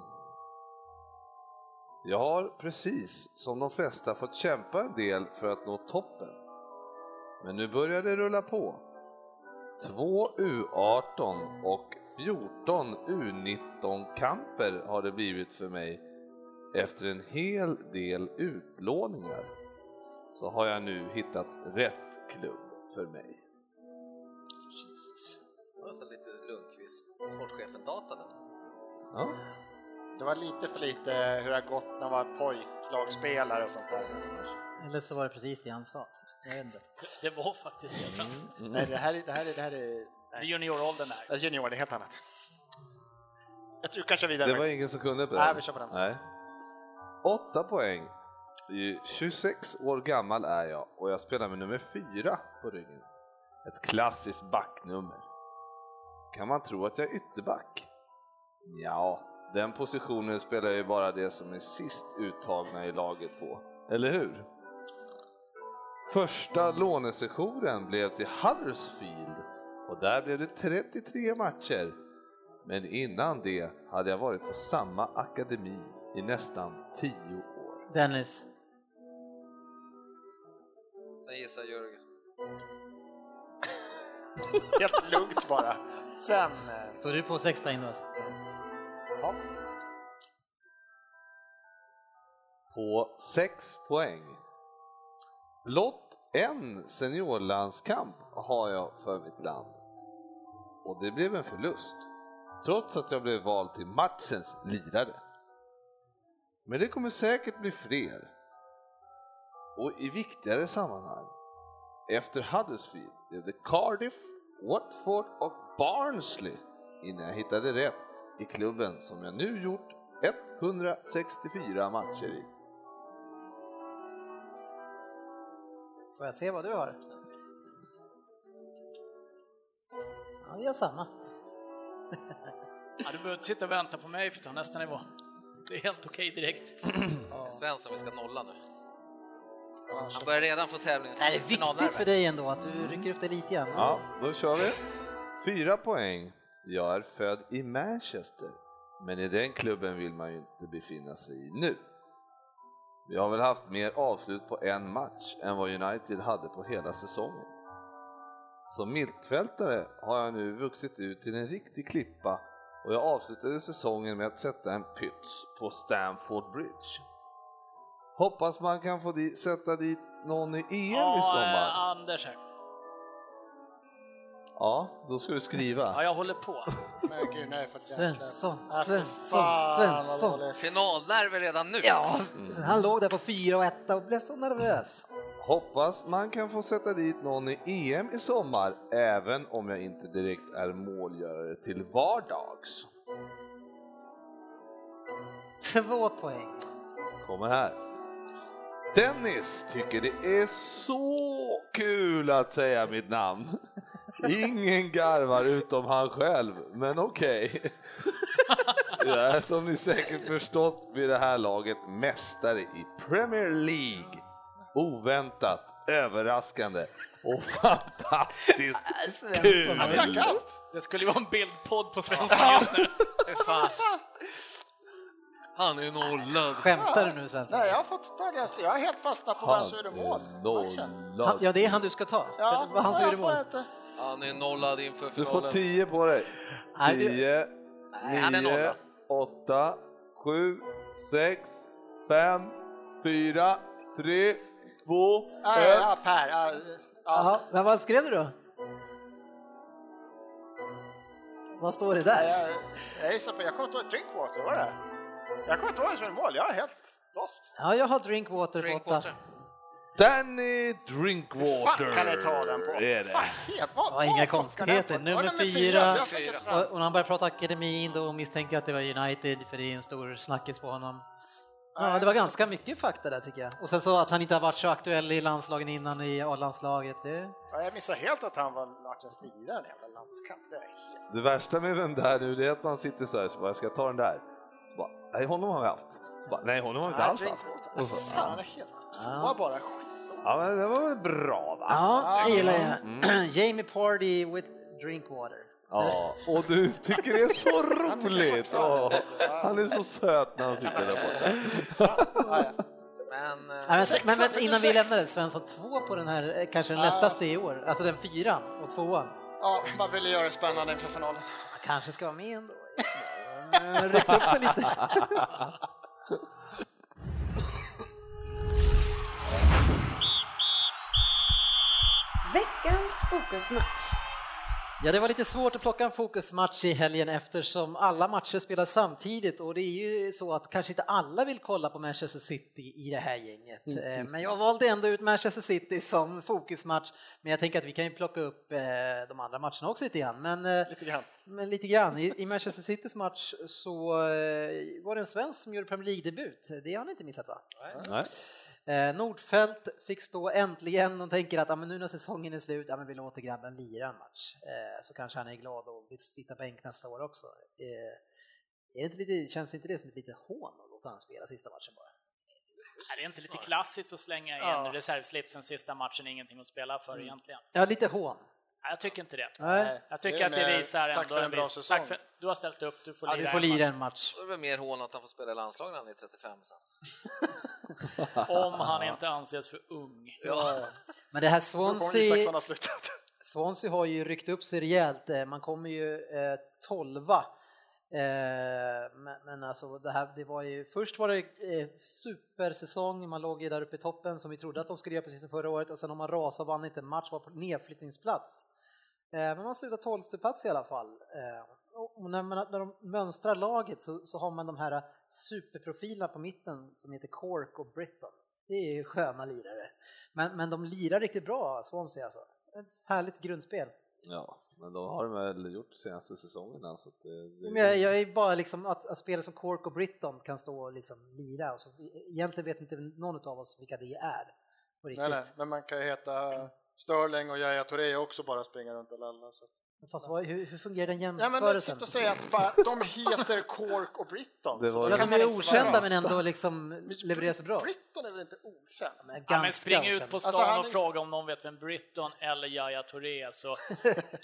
Speaker 6: Jag har precis som de flesta fått kämpa en del för att nå toppen. Men nu börjar det rulla på. Två U18 och 14 U19-kamper har det blivit för mig efter en hel del utlåningar så har jag nu hittat rätt klubb för mig.
Speaker 4: Jesus. Det var så lite Lundqvist, sportchefen data där.
Speaker 6: Ja.
Speaker 3: Det var lite för lite hur det har gått när man var pojklagsspelare och sånt där.
Speaker 2: Eller så var det precis det han sa. Jag vet inte.
Speaker 5: Det var faktiskt det, Svensson.
Speaker 3: Nej, det här är... Det här är, det här är
Speaker 5: Det är junioråldern där.
Speaker 3: nej, junior, det är helt annat. Jag tror kanske vidare.
Speaker 6: Det var
Speaker 3: faktiskt.
Speaker 6: ingen som kunde på den.
Speaker 3: Nej, vi kör på den.
Speaker 6: Nej. Åtta poäng. I 26 år gammal är jag och jag spelar med nummer fyra på ryggen. Ett klassiskt backnummer. Kan man tro att jag är ytterback? Ja, den positionen spelar jag ju bara det som är sist uttagna i laget på, eller hur? Första lånesessionen blev till Huddersfield och där blev det 33 matcher. Men innan det hade jag varit på samma akademi i nästan 10 år.
Speaker 2: Dennis.
Speaker 4: Sen gissar Jörgen.
Speaker 3: Helt lugnt bara. Sen... eh,
Speaker 2: Mm. Så är du på 6 poäng då alltså?
Speaker 3: Ja.
Speaker 6: På 6 poäng. Blott en seniorlandskamp har jag för mitt land. Och det blev en förlust. Trots att jag blev vald till matchens lirare. Men det kommer säkert bli fler. Och i viktigare sammanhang. Efter Huddersfield blev det Cardiff, Watford och Barnsley innan jag hittade rätt i klubben som jag nu gjort 164 matcher i.
Speaker 2: Får jag se vad du har? Ja, vi har samma.
Speaker 5: Ja, du behöver inte sitta och vänta på mig för att ta nästa nivå. Det är helt okej direkt.
Speaker 4: Det är Svensson vi ska nolla nu. Han börjar redan få
Speaker 2: Det här är viktigt för
Speaker 4: tävlingsfinalnerver.
Speaker 2: dig ändå att du rycker upp dig lite igen.
Speaker 6: Ja, då kör vi. Fyra poäng. Jag är född i Manchester, men i den klubben vill man ju inte befinna sig i nu. Vi har väl haft mer avslut på en match än vad United hade på hela säsongen. Som mittfältare har jag nu vuxit ut till en riktig klippa och jag avslutade säsongen med att sätta en pyts på Stamford Bridge. Hoppas man kan få di- sätta dit någon i EM i
Speaker 5: Ja,
Speaker 6: sommar.
Speaker 5: eh, Anders här.
Speaker 6: Ja, då ska du skriva.
Speaker 5: Ja, jag håller på.
Speaker 3: Men gud, nej, för att jag
Speaker 2: Svensson,
Speaker 3: Ah, fy
Speaker 2: Svensson,
Speaker 3: fan, vad
Speaker 2: Svensson.
Speaker 3: dåligt.
Speaker 4: Finalnerver redan nu.
Speaker 2: Ja, han låg där på fyra och etta och blev så nervös.
Speaker 6: Hoppas man kan få sätta dit någon i EM i sommar, även om jag inte direkt är målgörare till vardags.
Speaker 2: Två poäng.
Speaker 6: Kommer här. Dennis tycker det är så kul att säga mitt namn. Ingen garvar utom han själv, men okej. Jag är som ni säkert förstått vid det här laget mästare i Premier League. Oväntat, överraskande och fantastiskt kul!
Speaker 3: Jag har blackout.
Speaker 5: Det skulle ju vara en bildpodd på svenska just nu.
Speaker 4: Fy fan. Han är nollad.
Speaker 2: Skämtar du nu Svensson?
Speaker 3: Nej, jag har fått ta ganska... Jag är helt fastnat på vem som gjorde mål.
Speaker 6: eh,
Speaker 3: Matchen.
Speaker 2: Han,
Speaker 6: Nollad.
Speaker 2: ja, det är han du ska ta.
Speaker 3: Ja,
Speaker 2: För han som gjorde
Speaker 3: jag får
Speaker 2: mål.
Speaker 3: inte.
Speaker 4: Han är nollad inför
Speaker 6: Du får
Speaker 4: finalen.
Speaker 6: 10 på dig.
Speaker 2: Nej, du-
Speaker 6: 10,
Speaker 4: Nej, han är
Speaker 6: 9,
Speaker 4: nolla.
Speaker 6: 8, 7, 6, 5, 4, 3, 2,
Speaker 3: Ja,
Speaker 6: 1.
Speaker 3: ja, Per. Ja, ja.
Speaker 2: Jaha, men vad skrev du då? Vad står det där?
Speaker 3: Jag, jag gissar på... Jag kommer inte ihåg Drinkwater, var det? Jag kommer inte ihåg vem som gjorde mål. Jag är helt lost.
Speaker 2: Ja, jag har Drinkwater på åtta.
Speaker 4: Drinkwater.
Speaker 6: Danny
Speaker 3: Fan
Speaker 6: Drinkwater
Speaker 3: kan jag ta den på?
Speaker 6: är det.
Speaker 3: Fan, helt, vad,
Speaker 2: Ja, inga
Speaker 3: vad
Speaker 2: konstigheter.
Speaker 3: plockar den på?
Speaker 2: Nummer
Speaker 3: Ja,
Speaker 2: fyra.
Speaker 3: jag fick ett
Speaker 2: Och, och när han började prata akademin då misstänkte jag att det var United för det är en stor snackis på honom. Ja, det var ganska mycket fakta där tycker jag. Och sen så att han inte har varit så aktuell i landslagen innan i A-landslaget. Det...
Speaker 3: Ja, jag missade helt att han var matchens lirare i en jävla landskamp. Det är helt...
Speaker 6: Det värsta med vem där nu det är att man sitter så här så bara, jag ska ta den där. Så bara, nej honom har vi haft. Så bara, nej honom har vi inte alls haft. Och så,
Speaker 3: Fan, han är helt tvåa bara. Skit.
Speaker 6: ja men det var väl bra va?
Speaker 2: Ja, det gillar jag. Jamie Party with Drinkwater.
Speaker 6: Ja, och du tycker det är så roligt! Åh, han är så söt när han sitter där borta.
Speaker 3: Ja, ja.
Speaker 4: Men, eh,
Speaker 2: Nej, Men,
Speaker 3: Sexa,
Speaker 2: men vänta, innan vi
Speaker 3: sex.
Speaker 2: lämnar det, Svensson, två på den här, eh, kanske den lättaste i år, alltså den fyran och tvåan.
Speaker 3: ja, man ville göra det spännande inför finalen.
Speaker 2: Man kanske ska vara med ändå. Eh, Rycka upp sig lite.
Speaker 1: Veckans fokusmatch.
Speaker 2: Ja, det var lite svårt att plocka en fokusmatch i helgen eftersom alla matcher spelas samtidigt och det är ju så att kanske inte alla vill kolla på Manchester City i det här gänget. Eh, Men jag valde ändå ut Manchester City som fokusmatch. Men jag tänker att vi kan ju plocka upp eh, de andra matcherna också lite grann. Men, eh,
Speaker 3: Lite grann.
Speaker 2: men lite grann. I i Manchester Citys match så eh, var det en svensk som gjorde Premier League-debut. Det har ni inte missat va?
Speaker 6: Nej.
Speaker 2: Eh, Nordfeldt fick stå äntligen och tänker att ah, men nu när säsongen är slut, ah, men vi låter grabben lira en match. Eh, så kanske han är glad och vill sitta bänk nästa år också. Eh, är det inte lite, känns inte det som ett litet hån att låta han spela sista matchen bara?
Speaker 5: Är det inte lite klassiskt att slänga in
Speaker 3: Ja. Mm.
Speaker 5: reservslipsen sista matchen, ingenting att spela för egentligen?
Speaker 2: Ja, lite hån.
Speaker 5: Nej, jag tycker inte det.
Speaker 2: Nej.
Speaker 5: Jag tycker
Speaker 3: är
Speaker 5: att det
Speaker 3: mer,
Speaker 5: visar
Speaker 3: eh, tack
Speaker 5: ändå
Speaker 3: för en bra
Speaker 5: viss-
Speaker 3: säsong.
Speaker 5: Tack för, du har ställt upp, du får
Speaker 2: Ja,
Speaker 5: lira.
Speaker 2: du får
Speaker 5: en match.
Speaker 2: lira en match.
Speaker 4: då är det väl mer hån att han får spela i landslaget när han är 35 sen.
Speaker 5: Om han inte anses för ung.
Speaker 4: Ja.
Speaker 2: Men det här
Speaker 3: Kommer Isaksson
Speaker 2: Swansea,
Speaker 3: har slutat?
Speaker 2: Swansea har ju ryckt upp sig rejält. Eh, Man kommer ju eh, tolva. Eh, men, men alltså det här, det var ju, först var det eh, supersäsong, man låg ju där uppe i toppen som vi trodde att de skulle göra precis som förra året och sen har man rasat och vann inte en match, var på nedflyttningsplats. Eh, men man slutar tolfte plats i alla fall. Eh, och och när, man, när de mönstrar laget så, så har man de här superprofilerna på mitten som heter Cork och Britton. Det är ju sköna lirare. Men, men de lirar riktigt bra, Swansea alltså. Ett härligt grundspel.
Speaker 6: Ja, men de har de väl gjort senaste säsongerna. Så att det, det,
Speaker 2: Men jag, jag är bara liksom att, att spelare som Cork och Britton kan stå och liksom lira och så, egentligen vet inte någon av oss vilka det är. på riktigt.
Speaker 3: Nej, nej, men man kan ju heta Sterling och Yahya Touré och också bara springa runt och lalla. Så. att-
Speaker 2: Fast vad, hur, hur fungerar den
Speaker 3: Ja, men
Speaker 2: jämförelsen?
Speaker 3: sitt och säga att bara, de heter Cork och Britton.
Speaker 6: Det
Speaker 3: så
Speaker 6: var-
Speaker 3: då
Speaker 2: ja,
Speaker 3: kan
Speaker 2: de
Speaker 3: man
Speaker 2: är
Speaker 3: inte vara-
Speaker 2: okända men ändå liksom
Speaker 3: Men
Speaker 2: levererar så bra.
Speaker 3: Britton är väl inte okänd?
Speaker 2: Men
Speaker 5: Ja, men
Speaker 2: ganska
Speaker 5: spring ut
Speaker 2: okänd.
Speaker 5: på
Speaker 3: Alltså,
Speaker 5: stan
Speaker 3: han
Speaker 5: och
Speaker 3: är-
Speaker 5: fråga om någon vet vem Britton eller Yahya Touré är, så,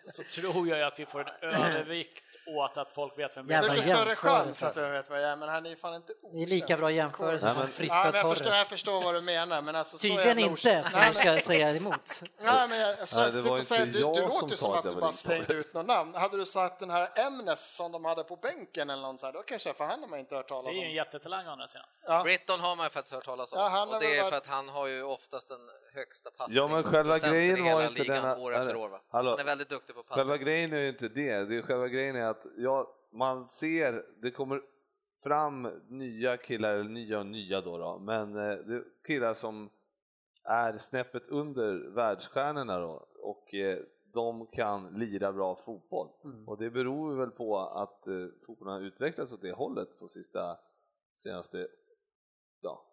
Speaker 5: så tror jag ju att vi får en övervikt åt att folk vet vem
Speaker 3: Det
Speaker 5: Britton
Speaker 2: Jävla
Speaker 3: är väl större
Speaker 2: jämförelse.
Speaker 3: chans att jag vet vad jag är, men han är ju fan inte okänd.
Speaker 2: Det är lika bra jämförelse
Speaker 6: Nej,
Speaker 2: som
Speaker 6: men-
Speaker 3: Ja,
Speaker 2: Fritta
Speaker 3: men jag, förstår, jag
Speaker 2: Torres.
Speaker 3: förstår vad du menar, men alltså,
Speaker 2: Tydligen
Speaker 3: så jävla
Speaker 2: inte,
Speaker 3: okänd-
Speaker 2: eftersom jag ska säga emot.
Speaker 3: Nej, men jag, alltså,
Speaker 6: Nej, det
Speaker 3: jag
Speaker 6: var
Speaker 3: sitter och säger,
Speaker 6: inte
Speaker 3: du, du
Speaker 6: jag som
Speaker 3: låter som
Speaker 6: sa
Speaker 3: att
Speaker 6: att
Speaker 3: du
Speaker 6: jag
Speaker 3: bara
Speaker 6: var
Speaker 3: slängde
Speaker 6: Torres.
Speaker 3: ut något namn. Hade du sagt den här Emnes som de hade på bänken eller något så här, då kanske jag, för han har man inte hört
Speaker 5: Det
Speaker 3: talas
Speaker 5: är ju en
Speaker 3: om.
Speaker 5: jättetalang å andra sidan.
Speaker 3: Ja.
Speaker 4: Britton har man ju faktiskt hört talas om.
Speaker 3: Ja, han har
Speaker 4: och det
Speaker 3: väl
Speaker 4: är
Speaker 3: varit-
Speaker 4: för att han har ju oftast den högsta
Speaker 6: Ja men själva
Speaker 4: passningsprocenten i
Speaker 6: grejen var
Speaker 4: hela
Speaker 6: inte
Speaker 4: ligan
Speaker 6: denna...
Speaker 4: år efter år. Va?
Speaker 6: Hallå,
Speaker 4: Han är väldigt duktig på passning.
Speaker 6: själva grejen är ju inte det. det är själva grejen är att jag, man ser, det kommer fram nya killar, eller nya och nya då, då men eh, det är killar som är snäppet under världsstjärnorna då och eh, de kan lira bra fotboll.
Speaker 2: Mm.
Speaker 6: Och det beror väl på att eh, fotbollen har utvecklats åt det hållet på sista, senaste ja,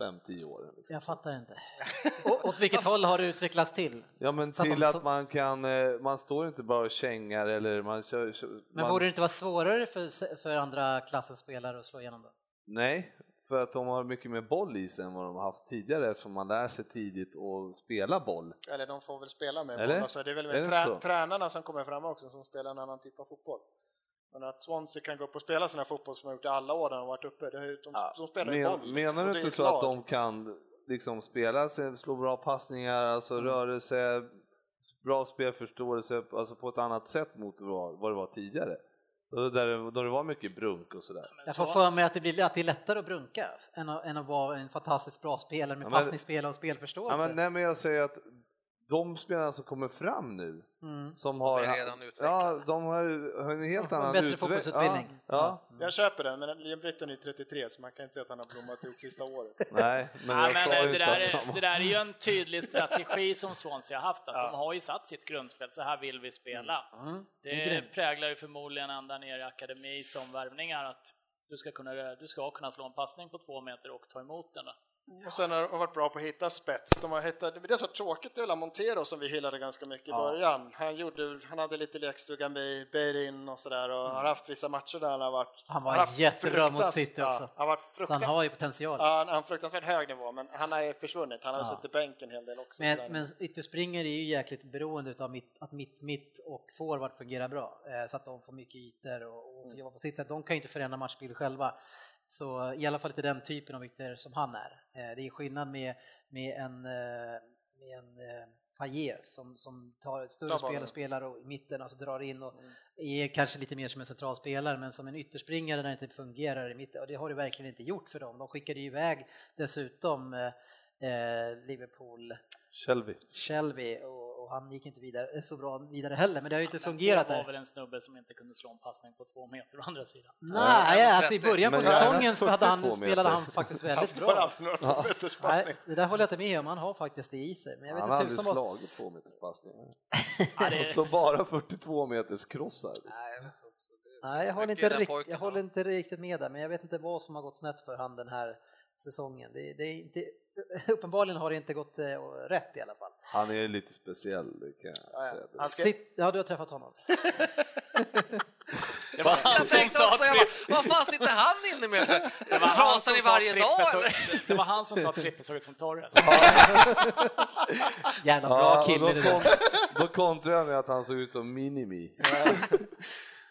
Speaker 6: 5-10 åren. Liksom.
Speaker 2: Jag fattar inte. Och, åt vilket håll har det utvecklats till?
Speaker 6: Ja men
Speaker 2: Så att
Speaker 6: till
Speaker 2: de-
Speaker 6: att man kan, eh, man står inte bara och kängar eller man kör... kör
Speaker 2: Men
Speaker 6: man,
Speaker 2: borde det inte vara svårare för, för andra klassens spelare att slå igenom då?
Speaker 6: Nej, för att de har mycket mer boll i sig än vad de har haft tidigare eftersom man lär sig tidigt att spela boll.
Speaker 3: Eller de får väl spela med
Speaker 6: Eller?
Speaker 3: boll, så det är väl
Speaker 6: Är
Speaker 3: med
Speaker 6: det
Speaker 3: trä,
Speaker 6: inte så?
Speaker 3: tränarna som kommer fram också som spelar en annan typ av fotboll. Men att Swansea kan gå upp och spela sina fotboll som de har gjort i alla år när de har varit uppe, det är, ju- de, de spelar ju boll. liksom.
Speaker 6: Men, menar
Speaker 3: och
Speaker 6: du
Speaker 3: det är
Speaker 6: inte
Speaker 3: ett
Speaker 6: så
Speaker 3: lag.
Speaker 6: att de kan liksom spela, sig, slå bra passningar, alltså rörelse, bra spelförståelse, alltså på ett annat sätt mot vad vad det var tidigare? Och Där, det- då det var mycket brunk och sådär.
Speaker 5: Men
Speaker 2: Jag får
Speaker 5: så-
Speaker 2: för mig att det, blir, att det är lättare att brunka än att, än att vara en fantastiskt bra spelare med
Speaker 6: Ja, men-
Speaker 2: passningsspel och
Speaker 6: Ja,
Speaker 2: spelförståelse.
Speaker 6: men, nej, men jag säger att de spelarna som kommer fram nu, som
Speaker 4: är
Speaker 6: har...
Speaker 4: redan utvecklade.
Speaker 6: ja, de har, har en helt
Speaker 2: får en
Speaker 6: annan
Speaker 2: bättre
Speaker 6: utveck-
Speaker 2: fotbollsutbildning.
Speaker 6: Ja,
Speaker 3: Jag köper den, men Liam Britton är 33 så man kan inte säga att han har blommat ut sista året.
Speaker 6: ja. Nej, men
Speaker 5: Ja,
Speaker 6: jag
Speaker 5: men
Speaker 6: sa ju
Speaker 5: eh, det,
Speaker 6: inte
Speaker 5: där
Speaker 6: att
Speaker 5: är,
Speaker 6: de...
Speaker 5: det där är ju en tydlig strategi som Swansea har haft, att de har ju satt sitt grundspel, så här vill vi spela. Det präglar ju förmodligen ända ner i akademis omvärvningar, att du ska, kunna, rö- du ska kunna slå en passning på två meter och ta emot den. va?
Speaker 3: Och sen har de varit bra på att hitta spets. De har hittat, det som var tråkigt är väl Montero som vi hyllade ganska mycket i början. Han, gjorde, han hade lite lekstuga med Beirin och sådär och
Speaker 6: Mm.
Speaker 3: har haft vissa matcher där han har varit...
Speaker 2: Han var
Speaker 3: har haft
Speaker 2: jättebra mot
Speaker 3: fruktas-
Speaker 2: City
Speaker 3: ja,
Speaker 2: också.
Speaker 3: Han har varit
Speaker 2: Så han
Speaker 3: fruktansvärt,
Speaker 2: har ju potential.
Speaker 3: ja, han har en fruktansvärt hög nivå men han har ju försvunnit. Han har
Speaker 2: Ja.
Speaker 3: suttit i bänken en hel del också. sådär.
Speaker 2: Men, men ytterspringare är ju jäkligt beroende av mitt, att mitt, mitt och forward fungerar bra eh, så att de får mycket ytor och,
Speaker 3: Mm.
Speaker 2: och får jobba på sitt sätt. De kan ju inte förändra matchbild själva. Så i alla fall inte den typen av ytter som han är. Eh, det är skillnad med, med en, eh, med en eh, Payet som, som tar ett större
Speaker 3: Ta
Speaker 2: spel
Speaker 3: bollen. Mm.
Speaker 2: och spelar och i mitten och så drar in och är kanske lite mer som en centralspelare men som en ytterspringare när det inte fungerar i mitten och det har det verkligen inte gjort för dem. De skickade ju iväg dessutom eh, eh, Liverpool
Speaker 6: Shelby.
Speaker 2: Shelby och, och han gick inte vidare, eh, så bra vidare heller, men det har ju inte
Speaker 5: Men
Speaker 2: fungerat
Speaker 5: Det var
Speaker 2: där.
Speaker 5: väl en snubbe som inte kunde slå en passning på två meter å andra sidan.
Speaker 2: Nej,
Speaker 4: Nej,
Speaker 2: alltså i början på
Speaker 6: men jag-
Speaker 2: säsongen så hade han,
Speaker 6: 42 meter.
Speaker 2: spelade han faktiskt
Speaker 3: han
Speaker 2: väldigt
Speaker 3: slår
Speaker 2: bra.
Speaker 3: alltid några två meters
Speaker 2: Nej,
Speaker 3: passning.
Speaker 2: det där håller jag inte med om, han har faktiskt det i sig. Men jag vet
Speaker 6: Han har
Speaker 2: inte
Speaker 6: aldrig
Speaker 2: tusan vad...
Speaker 6: slagit två meters passningar.
Speaker 5: Ja,
Speaker 6: Han
Speaker 5: det,
Speaker 6: slår bara 42 meters crossar.
Speaker 4: Nej, jag vet också. Det
Speaker 2: Nej,
Speaker 4: finns
Speaker 2: jag håller,
Speaker 4: mycket
Speaker 2: inte
Speaker 4: i den
Speaker 2: rikt...
Speaker 4: pojken,
Speaker 2: jag håller inte riktigt med där, men jag vet inte vad som har gått snett för han den här säsongen. Det, det är inte... Uppenbarligen har det inte gått eh, rätt i alla fall.
Speaker 6: Han är lite speciell, det kan jag säga.
Speaker 3: Han ska-
Speaker 2: Sitt... Ja, du har träffat honom.
Speaker 5: det var han
Speaker 4: Jag
Speaker 5: som
Speaker 4: tänkte
Speaker 5: sa
Speaker 4: också, jag
Speaker 5: att
Speaker 4: bara, vad fan sitter han inne med för?
Speaker 5: Det var han
Speaker 4: Pratar
Speaker 5: som
Speaker 4: ni
Speaker 5: sa
Speaker 4: varje
Speaker 5: Trippe
Speaker 4: dag
Speaker 5: såg-
Speaker 4: eller?
Speaker 5: Det var han som sa att Trippe såg ut som Torres.
Speaker 2: Jävla bra
Speaker 6: Ja, och
Speaker 2: kille
Speaker 6: då,
Speaker 2: det där.
Speaker 6: kom, då kontrade jag med att han såg ut som Minimi.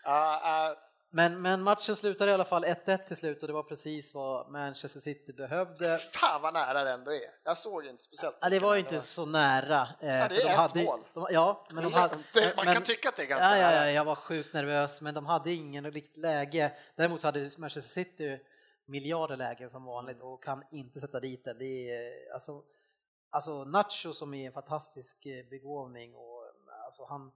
Speaker 3: Ja, ja,
Speaker 2: Men, men matchen slutade i alla fall 1-1 till slut och det var precis vad Manchester City behövde.
Speaker 3: fan vad nära det ändå är. Jag såg inte speciellt
Speaker 2: Ja, det
Speaker 3: mycket,
Speaker 2: var
Speaker 3: men
Speaker 2: ju inte så nära. eh,
Speaker 3: är
Speaker 2: för de
Speaker 3: ett
Speaker 2: hade, ju-
Speaker 3: mål.
Speaker 2: De, ja, men de hade,
Speaker 3: Det- man
Speaker 2: men-
Speaker 3: kan tycka att det är ganska
Speaker 2: ja, ja,
Speaker 3: nära.
Speaker 2: ja, Jag var sjukt nervös, men de hade ingen riktigt läge. Däremot hade Manchester City miljarder lägen som vanligt och kan inte sätta dit den. Det är, eh, alltså, alltså Nacho som är en fantastisk eh, begåvning och eh, alltså han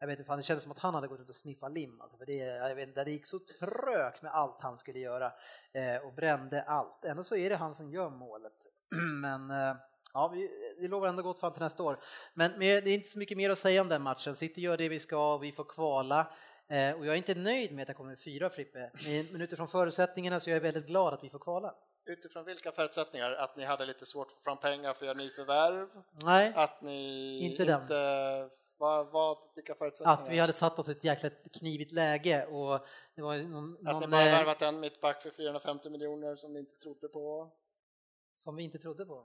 Speaker 2: jag vet inte, fan, det kändes som att han hade gått ut och sniffat lim. Alltså för det, jag vet inte, det gick så trögt med allt han skulle göra eh, och brände allt. Ändå så är det han som gör målet. Men eh, ja, vi, det lovar ändå gott fram till nästa år. Men med, det är inte så mycket mer att säga om den matchen. City gör det vi ska, vi får kvala. Eh, och jag är inte nöjd med att jag kommer fyra Frippe, men men utifrån förutsättningarna så är jag väldigt glad att vi får kvala.
Speaker 3: Utifrån vilka förutsättningar? Att ni hade lite svårt att få fram pengar för att göra nyförvärv?
Speaker 2: Nej,
Speaker 3: Att ni
Speaker 2: Inte den.
Speaker 3: vad, vad, vilka förutsättningar?
Speaker 2: att vi hade satt oss i ett jäkla knivigt läge och det var ju någon,
Speaker 3: Att ni
Speaker 2: någon
Speaker 3: bara
Speaker 2: eh,
Speaker 3: värvat en mittback för 450 miljoner som ni inte trodde på?
Speaker 2: som vi inte trodde på.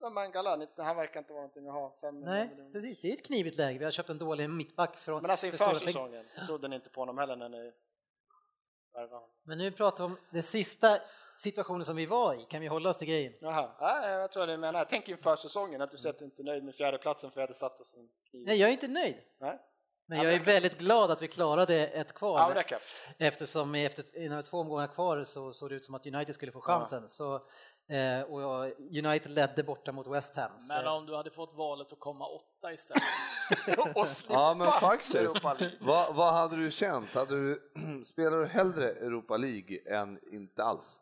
Speaker 3: Men Mangala, ni- han verkar inte vara någonting att ha. 500
Speaker 2: Nej,
Speaker 3: miljoner.
Speaker 2: precis, det är ett knivigt läge. Vi har köpt en dålig mittback från...
Speaker 3: Men alltså
Speaker 2: för stora
Speaker 3: inför
Speaker 2: pengar.
Speaker 3: säsongen trodde ni inte på honom heller när ni värvade honom?
Speaker 2: Men nu pratar vi om den sista situationen som vi var i. Kan vi hålla oss till grejen?
Speaker 3: Jaha, ja, jag tror det menar. Tänk inför säsongen att du säger att du inte är nöjd med fjärdeplatsen för jag hade satt oss i en kniv.
Speaker 2: Nej, jag är inte nöjd.
Speaker 3: Nej?
Speaker 2: Men
Speaker 3: Ja,
Speaker 2: jag är
Speaker 3: men-
Speaker 2: väldigt glad att vi klarade ett kval.
Speaker 3: Ja, men det kan jag.
Speaker 2: Eftersom efter innan två omgångar kvar så såg det ut som att United skulle få chansen. Så, eh, och jag- United ledde borta mot West Ham. Så.
Speaker 5: Men om du hade fått valet att komma åtta istället.
Speaker 3: Och slippa
Speaker 6: Ja, men faktiskt.
Speaker 3: Europa League.
Speaker 6: Vad, vad hade du känt? Hade du, spelar du hellre Europa League än inte alls?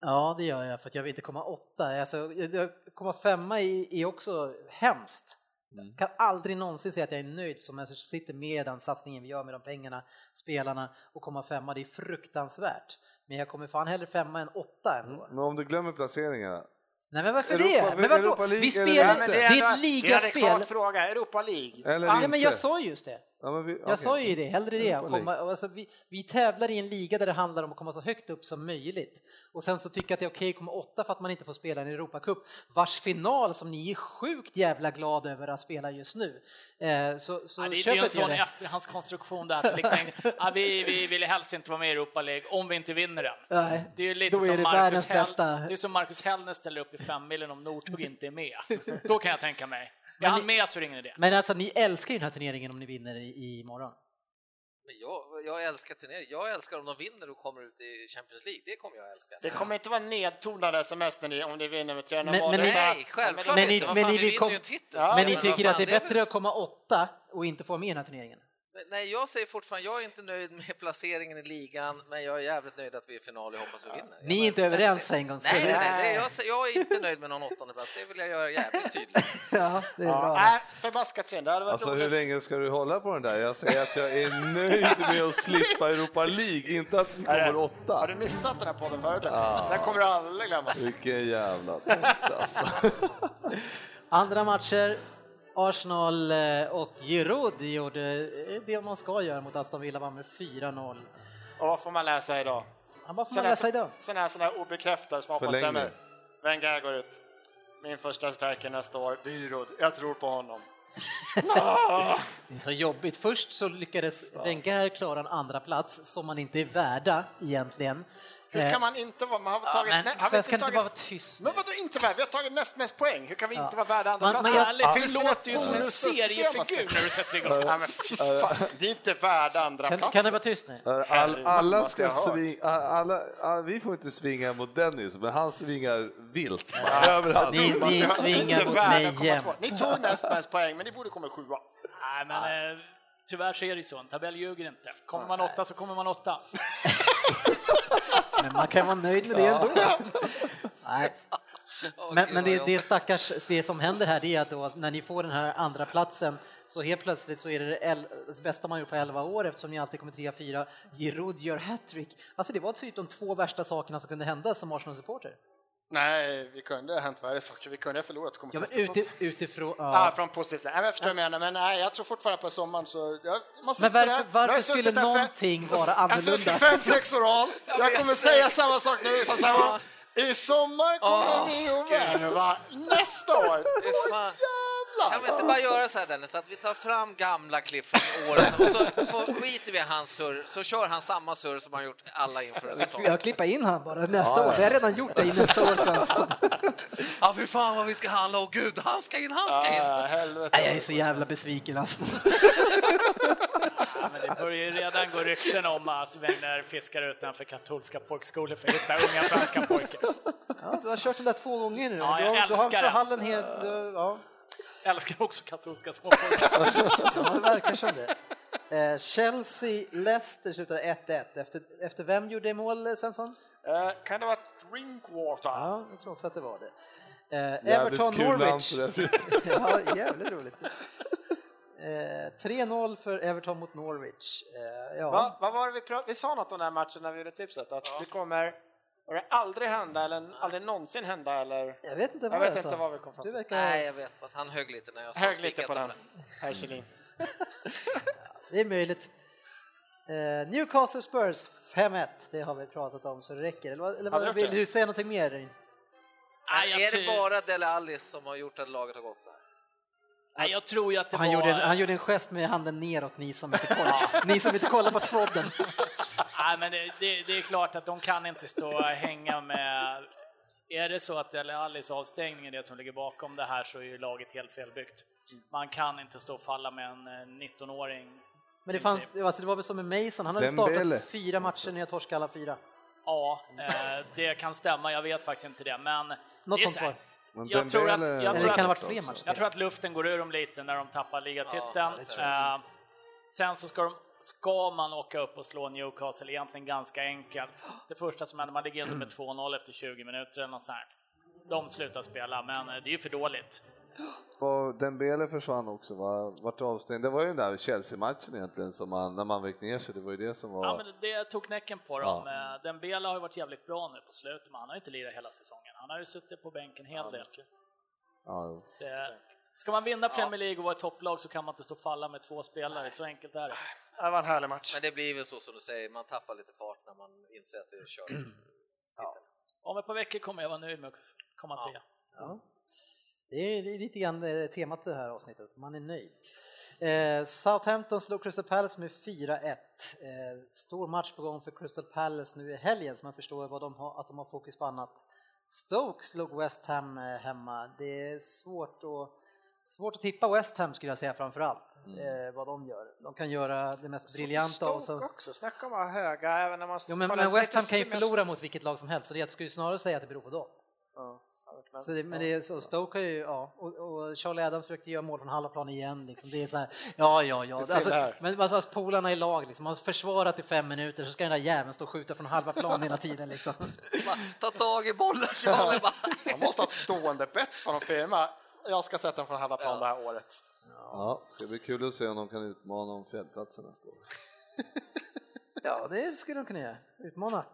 Speaker 2: Ja, det gör jag för att jag vill inte komma åtta. Alltså, jag- jag- komma femma i- är också hemskt. Jag kan aldrig någonsin säga att jag är nöjd som Manchester City med den satsningen vi gör med de pengarna, spelarna och komma femma, det är fruktansvärt. Men jag kommer fan hellre femma än åtta ändå.
Speaker 6: Men om du glömmer placeringarna,
Speaker 2: Nej men varför
Speaker 6: Mm. Europa-
Speaker 2: det? Men vadå?
Speaker 6: Europa League
Speaker 2: Vi
Speaker 6: eller
Speaker 2: spelar,
Speaker 6: inte?
Speaker 2: det,
Speaker 6: Men
Speaker 2: det är ett
Speaker 3: Det är en
Speaker 2: ligaspel.
Speaker 3: adekvat fråga, Europa League.
Speaker 6: eller
Speaker 2: Nej
Speaker 6: inte?
Speaker 2: men jag sa ju just det.
Speaker 6: Ja, men vi-
Speaker 2: Jag
Speaker 6: okej.
Speaker 2: sa ju det, hellre det.
Speaker 6: Europa
Speaker 2: och
Speaker 6: League.
Speaker 2: Komma, och alltså, vi, vi tävlar i en liga där det handlar om att komma så högt upp som möjligt. Och sen så tycker jag att det är okej att komma åtta för att man inte får spela en Europacup vars final som ni är sjukt jävla glad över att spela just nu. Eh, så så
Speaker 5: Ja, det, det
Speaker 2: köper
Speaker 5: är ju en
Speaker 2: inte jag
Speaker 5: sån
Speaker 2: det.
Speaker 5: efterhandskonstruktion där. För liksom, ja, vi, vi vill helst inte vara med i Europa League om vi inte vinner den.
Speaker 2: Nej,
Speaker 5: Det är ju lite
Speaker 2: då
Speaker 5: som
Speaker 2: är det
Speaker 5: Marcus
Speaker 2: världens
Speaker 5: Hell-
Speaker 2: bästa.
Speaker 5: Det är som Marcus Hellner ställer upp i femmillen om Northug inte är med. Då kan jag tänka mig. Är han med så är det ingen idé.
Speaker 2: Men alltså ni älskar ju den här turneringen om ni vinner i, i imorgon.
Speaker 4: Men jag, jag älskar turneringar. Jag älskar om de vinner och kommer ut i Champions League. Det kommer jag älska.
Speaker 3: Det kommer inte vara nedtonade sms när ni, om ni vinner med 300
Speaker 2: Men-
Speaker 3: mål.
Speaker 2: men
Speaker 3: Det är
Speaker 2: ni-
Speaker 3: så här-
Speaker 4: Nej, självklart
Speaker 3: Ja,
Speaker 2: men
Speaker 4: inte.
Speaker 2: ni-
Speaker 4: Vad
Speaker 2: men
Speaker 4: fan,
Speaker 2: ni
Speaker 4: vi
Speaker 2: vill
Speaker 4: vinner
Speaker 2: kom-
Speaker 4: ju en titel.
Speaker 3: Ja,
Speaker 4: så
Speaker 2: men ni
Speaker 4: vad fan,
Speaker 2: tycker att det är
Speaker 4: väl-
Speaker 2: bättre att komma åtta och inte få med i den här turneringen?
Speaker 4: Nej, jag säger fortfarande, jag är inte nöjd med placeringen i ligan, men jag är jävligt nöjd att vi är i final och hoppas vi vinner.
Speaker 2: Ni är
Speaker 4: Jag
Speaker 2: inte
Speaker 4: bara,
Speaker 2: överens
Speaker 4: that's it.
Speaker 2: för en gångs
Speaker 4: Nej,
Speaker 2: skull.
Speaker 4: nej, nej, nej. Jag, säger- jag är inte nöjd med någon åttonde plats. det vill jag göra jävligt tydligt.
Speaker 2: Ja, det är
Speaker 3: Ja,
Speaker 2: bra.
Speaker 3: nej, förbaskat synd. Det hade varit
Speaker 6: Alltså hur
Speaker 3: roligt.
Speaker 6: länge ska du hålla på den där? Jag säger att jag är nöjd med att slippa Europa League, inte att vi kommer
Speaker 3: Har
Speaker 6: åtta.
Speaker 3: du missat den här podden förut? Ja. Den kommer du aldrig glömma.
Speaker 6: Vilken jävla trött alltså.
Speaker 2: Andra matcher. Arsenal eh, och Giroud gjorde eh, det man ska göra mot Aston Villa, vann med 4-0.
Speaker 3: Och vad får man läsa idag?
Speaker 2: Han bara, får man läsa idag?
Speaker 3: Sådana här, såna här obekräftade som jag hoppas
Speaker 6: Förlängning.
Speaker 3: stämmer. Wenger går ut. Min första striker nästa år, Dyrod. Jag tror på honom.
Speaker 2: Det är så jobbigt. Först så lyckades Wenger klara en andra plats som man inte är värda egentligen.
Speaker 3: Hur
Speaker 2: Eh,
Speaker 3: kan man inte vara... Man har
Speaker 2: ja,
Speaker 3: tagit...
Speaker 2: men
Speaker 3: nej, har vi
Speaker 2: svenskar
Speaker 3: inte
Speaker 2: kan inte
Speaker 3: tagit...
Speaker 2: bara vara tyst.
Speaker 3: Men vadå inte värd? Vi har tagit näst mest poäng. Hur kan vi inte
Speaker 2: Ja.
Speaker 3: vara värda andra
Speaker 2: Man- man
Speaker 3: platsen?
Speaker 2: gör-
Speaker 5: Alltså, Ärligt,
Speaker 3: Finns
Speaker 5: du
Speaker 3: det något
Speaker 5: låter ju som en
Speaker 3: bonussystem man ska-
Speaker 5: seriefigur när du sätter igång.
Speaker 3: Ja, men fy fan, det är inte värda andra
Speaker 2: Kan,
Speaker 3: platsen.
Speaker 2: kan det vara tyst nu?
Speaker 6: All, alla
Speaker 3: Herregud,
Speaker 6: ska
Speaker 3: vad jag har
Speaker 6: svinga, alla, alla, vi får inte svinga mot Dennis, men han svingar vilt bara, överallt.
Speaker 2: Ni, ni
Speaker 3: Det var
Speaker 2: svingar
Speaker 3: inte
Speaker 2: mot
Speaker 3: värda
Speaker 2: mig
Speaker 3: 0,2.
Speaker 2: jämt.
Speaker 3: Ni tog näst mest poäng, men ni borde komma sjua.
Speaker 5: Nej, men eh, tyvärr så är det ju så. En tabell ljuger inte. Kommer man åtta så kommer man åtta.
Speaker 2: Men man kan vara nöjd med det ändå. Nej.
Speaker 4: Åh,
Speaker 2: Men, men
Speaker 4: gud, vad
Speaker 2: det, det,
Speaker 4: jobbigt.
Speaker 2: stackars, det som händer här det är att då, när ni får den här andra platsen så helt plötsligt så är det det el- det bästa man gjort på 11 år eftersom ni alltid kommer 3-4. Giroud gör hattrick. Alltså det var typ de två värsta sakerna som kunde hända som Arsenal-supporter.
Speaker 3: Nej, vi kunde ha hänt värre saker. Vi kunde ha förlorat. Kommit
Speaker 2: Ja, men
Speaker 3: efter
Speaker 2: uti,
Speaker 3: Tottenham.
Speaker 2: utifrån...
Speaker 3: Ah,
Speaker 2: Ja.
Speaker 3: från positivt läge. Nej, men Jag förstår vad du menar, men nej, jag tror fortfarande på sommaren. Så jag, man sitter
Speaker 2: Men varför-
Speaker 3: där. Jag har
Speaker 2: varför
Speaker 3: suttit
Speaker 2: skulle
Speaker 3: där fem-
Speaker 2: någonting vara
Speaker 3: Jag har
Speaker 2: annorlunda?
Speaker 3: suttit fem, sex år av. Jag kommer säga samma sak nu som samma. I sommar kommer vi och värva nästa år.
Speaker 4: Fy fan. Kan vi
Speaker 3: Jävlar!
Speaker 4: inte bara göra så här Dennis, att vi tar fram gamla klipp från året och så får, skiter vi i hans surr, så kör han samma surr som han gjort alla inför säsongen.
Speaker 2: Jag klippa in han bara nästa år. Vi har redan gjort det i nästa år, Svensson.
Speaker 4: Ja, fy fan vad vi ska handla, åh gud, han ska in, han ska in!
Speaker 3: Ah, helvete.
Speaker 2: Nej, jag är så jävla besviken alltså.
Speaker 5: Ja, men det börjar ju redan gå rykten om att Wenger fiskar utanför katolska pojkskolor för att hitta unga svenska pojkar.
Speaker 2: Ja, du har kört den där två gånger nu.
Speaker 5: Ja, jag
Speaker 2: du har, du har
Speaker 5: älskar den.
Speaker 2: förhallen helt... Du, ja.
Speaker 5: Älskar också katolska småpojkar.
Speaker 2: Ja, det verkar som det. Eh, Chelsea-Leicester slutade 1-1. Efter, efter vem gjorde mål, eh, Svensson?
Speaker 3: Eh, Kan det vara drinkwater?
Speaker 2: Ja, jag tror också att det var det. Eh,
Speaker 6: Jävligt kul namn
Speaker 2: Everton-Norwich.
Speaker 6: för övrigt.
Speaker 2: ja, jävligt roligt. Eh, 3-0 för Everton mot Norwich. Eh, ja.
Speaker 3: Va, vad var det vi, pra- vi sa något om den här matchen när vi gjorde tipset, att det kommer och det aldrig hända eller aldrig någonsin hända eller?
Speaker 2: Jag vet inte
Speaker 3: Jag
Speaker 2: vad
Speaker 3: vet
Speaker 2: jag
Speaker 3: inte
Speaker 2: sa.
Speaker 3: vad vi kom fram
Speaker 2: Du
Speaker 3: till.
Speaker 2: verkar...
Speaker 4: Nej, jag vet att han högg lite när jag sa
Speaker 3: Hög lite
Speaker 4: spikat
Speaker 3: på
Speaker 4: om
Speaker 3: den,
Speaker 4: det.
Speaker 3: herr Kjellin.
Speaker 2: Det är möjligt. Eh, Newcastle Spurs 5-1, det har vi pratat om så det räcker. Eller, vad- eller
Speaker 3: Har vi
Speaker 2: vad,
Speaker 3: gjort
Speaker 2: vill
Speaker 3: det?
Speaker 2: du säga någonting mer?
Speaker 5: Nej, jag
Speaker 4: Är det
Speaker 5: ty-
Speaker 4: bara Dele Alli som har gjort att laget har gått så här?
Speaker 5: Nej, jag tror ju att det
Speaker 2: Han
Speaker 5: var...
Speaker 2: gjorde, en, han gjorde en gest med handen neråt, ni som inte kollar, ni som inte kollar på tvådden.
Speaker 5: Nej, men det, det, det är klart att de kan inte stå och hänga med... Är det så att Dele Allis avstängning är det som ligger bakom det här så är ju laget helt felbyggt. Man kan inte stå och falla med en eh, 19-åring.
Speaker 2: Men det, fanns, alltså det var väl som med Mason, han hade
Speaker 6: Dembele.
Speaker 2: startat fyra matcher när jag torskade alla fyra.
Speaker 5: Ja, eh, det kan stämma. Jag vet faktiskt inte det, men...
Speaker 2: Något
Speaker 5: det är
Speaker 2: sånt
Speaker 5: så här.
Speaker 2: var
Speaker 6: Men
Speaker 5: Jag tror att-
Speaker 6: Dembele-
Speaker 2: Eller
Speaker 5: jag tror
Speaker 2: det
Speaker 5: att-
Speaker 2: kan ha varit fler matcher.
Speaker 5: Jag tror att luften går ur dem lite när de tappar ligatiteln.
Speaker 4: Ja, det tror jag
Speaker 5: eh, sen så ska, de, ska man åka upp och slå Newcastle egentligen ganska enkelt. Det första som händer, man ligger inte med 2-0 efter 20 minuter eller något sånt. här. De slutar spela, men eh, det är ju för dåligt.
Speaker 6: Och Dembele försvann också, va? vart avstängd. Det var ju den där Chelsea-matchen egentligen, som man, när man vek ner sig, det var ju det som var...
Speaker 5: Ja, men det tog knäcken på dem. Eh, Dembele har ju varit jävligt bra nu på slutet, men han har ju inte lirat hela säsongen. Han har ju suttit på bänken en hel del.
Speaker 6: Ja, jo.
Speaker 5: Det, ska man vinna Premier League och vara ett topplag så kan man inte stå och falla med två spelare, så enkelt är det.
Speaker 3: Det var en härlig match.
Speaker 4: Men det blir väl så som du säger, man tappar lite fart när man inser att det är kört.
Speaker 5: Om ett par veckor kommer jag vara nöjd med att komma trea.
Speaker 2: Ja. Det är det är lite grann eh, temat det här avsnittet, man är nöjd. Eh, Southampton slog Crystal Palace med 4-1. Eh, stor match på gång för Crystal Palace nu i helgen så man förstår vad de har, att de har fokus på annat. Stoke slog West Ham eh, hemma. Det är svårt att Svårt att tippa West Ham skulle jag säga framför allt, eh, vad de gör. De kan göra det mest briljanta och
Speaker 3: Stoke
Speaker 2: så...
Speaker 3: också, snacka om att ha höga även när man...
Speaker 2: Jo, men,
Speaker 3: kollar
Speaker 2: men West
Speaker 3: lite
Speaker 2: Ham kan ju
Speaker 3: streamers-
Speaker 2: förlora mot vilket lag som helst, så det, jag skulle ju snarare säga att det beror på dem.
Speaker 3: Ja, verkligen.
Speaker 2: Så det, men det är, så Stoke har ju, ja, och, och Charlie Adams försökte göra mål från halva plan igen. Liksom. Det är så här, ja, ja, ja.
Speaker 3: Det
Speaker 2: alltså,
Speaker 3: tillhör.
Speaker 2: men alltså, polarna i lag, liksom. man försvarat i fem minuter så ska den där jäveln stå och skjuta från halva plan hela tiden. Liksom.
Speaker 4: Bara, Ta tag i bollen Charlie! Bara.
Speaker 3: Man måste ha ett stående bett på någon firma. Jag ska sätta den från halva plan det här året.
Speaker 6: Ja, det ska bli kul att se om de kan utmana om fjällplatsen nästa år.
Speaker 2: Ja, det skulle de kunna göra, utmana.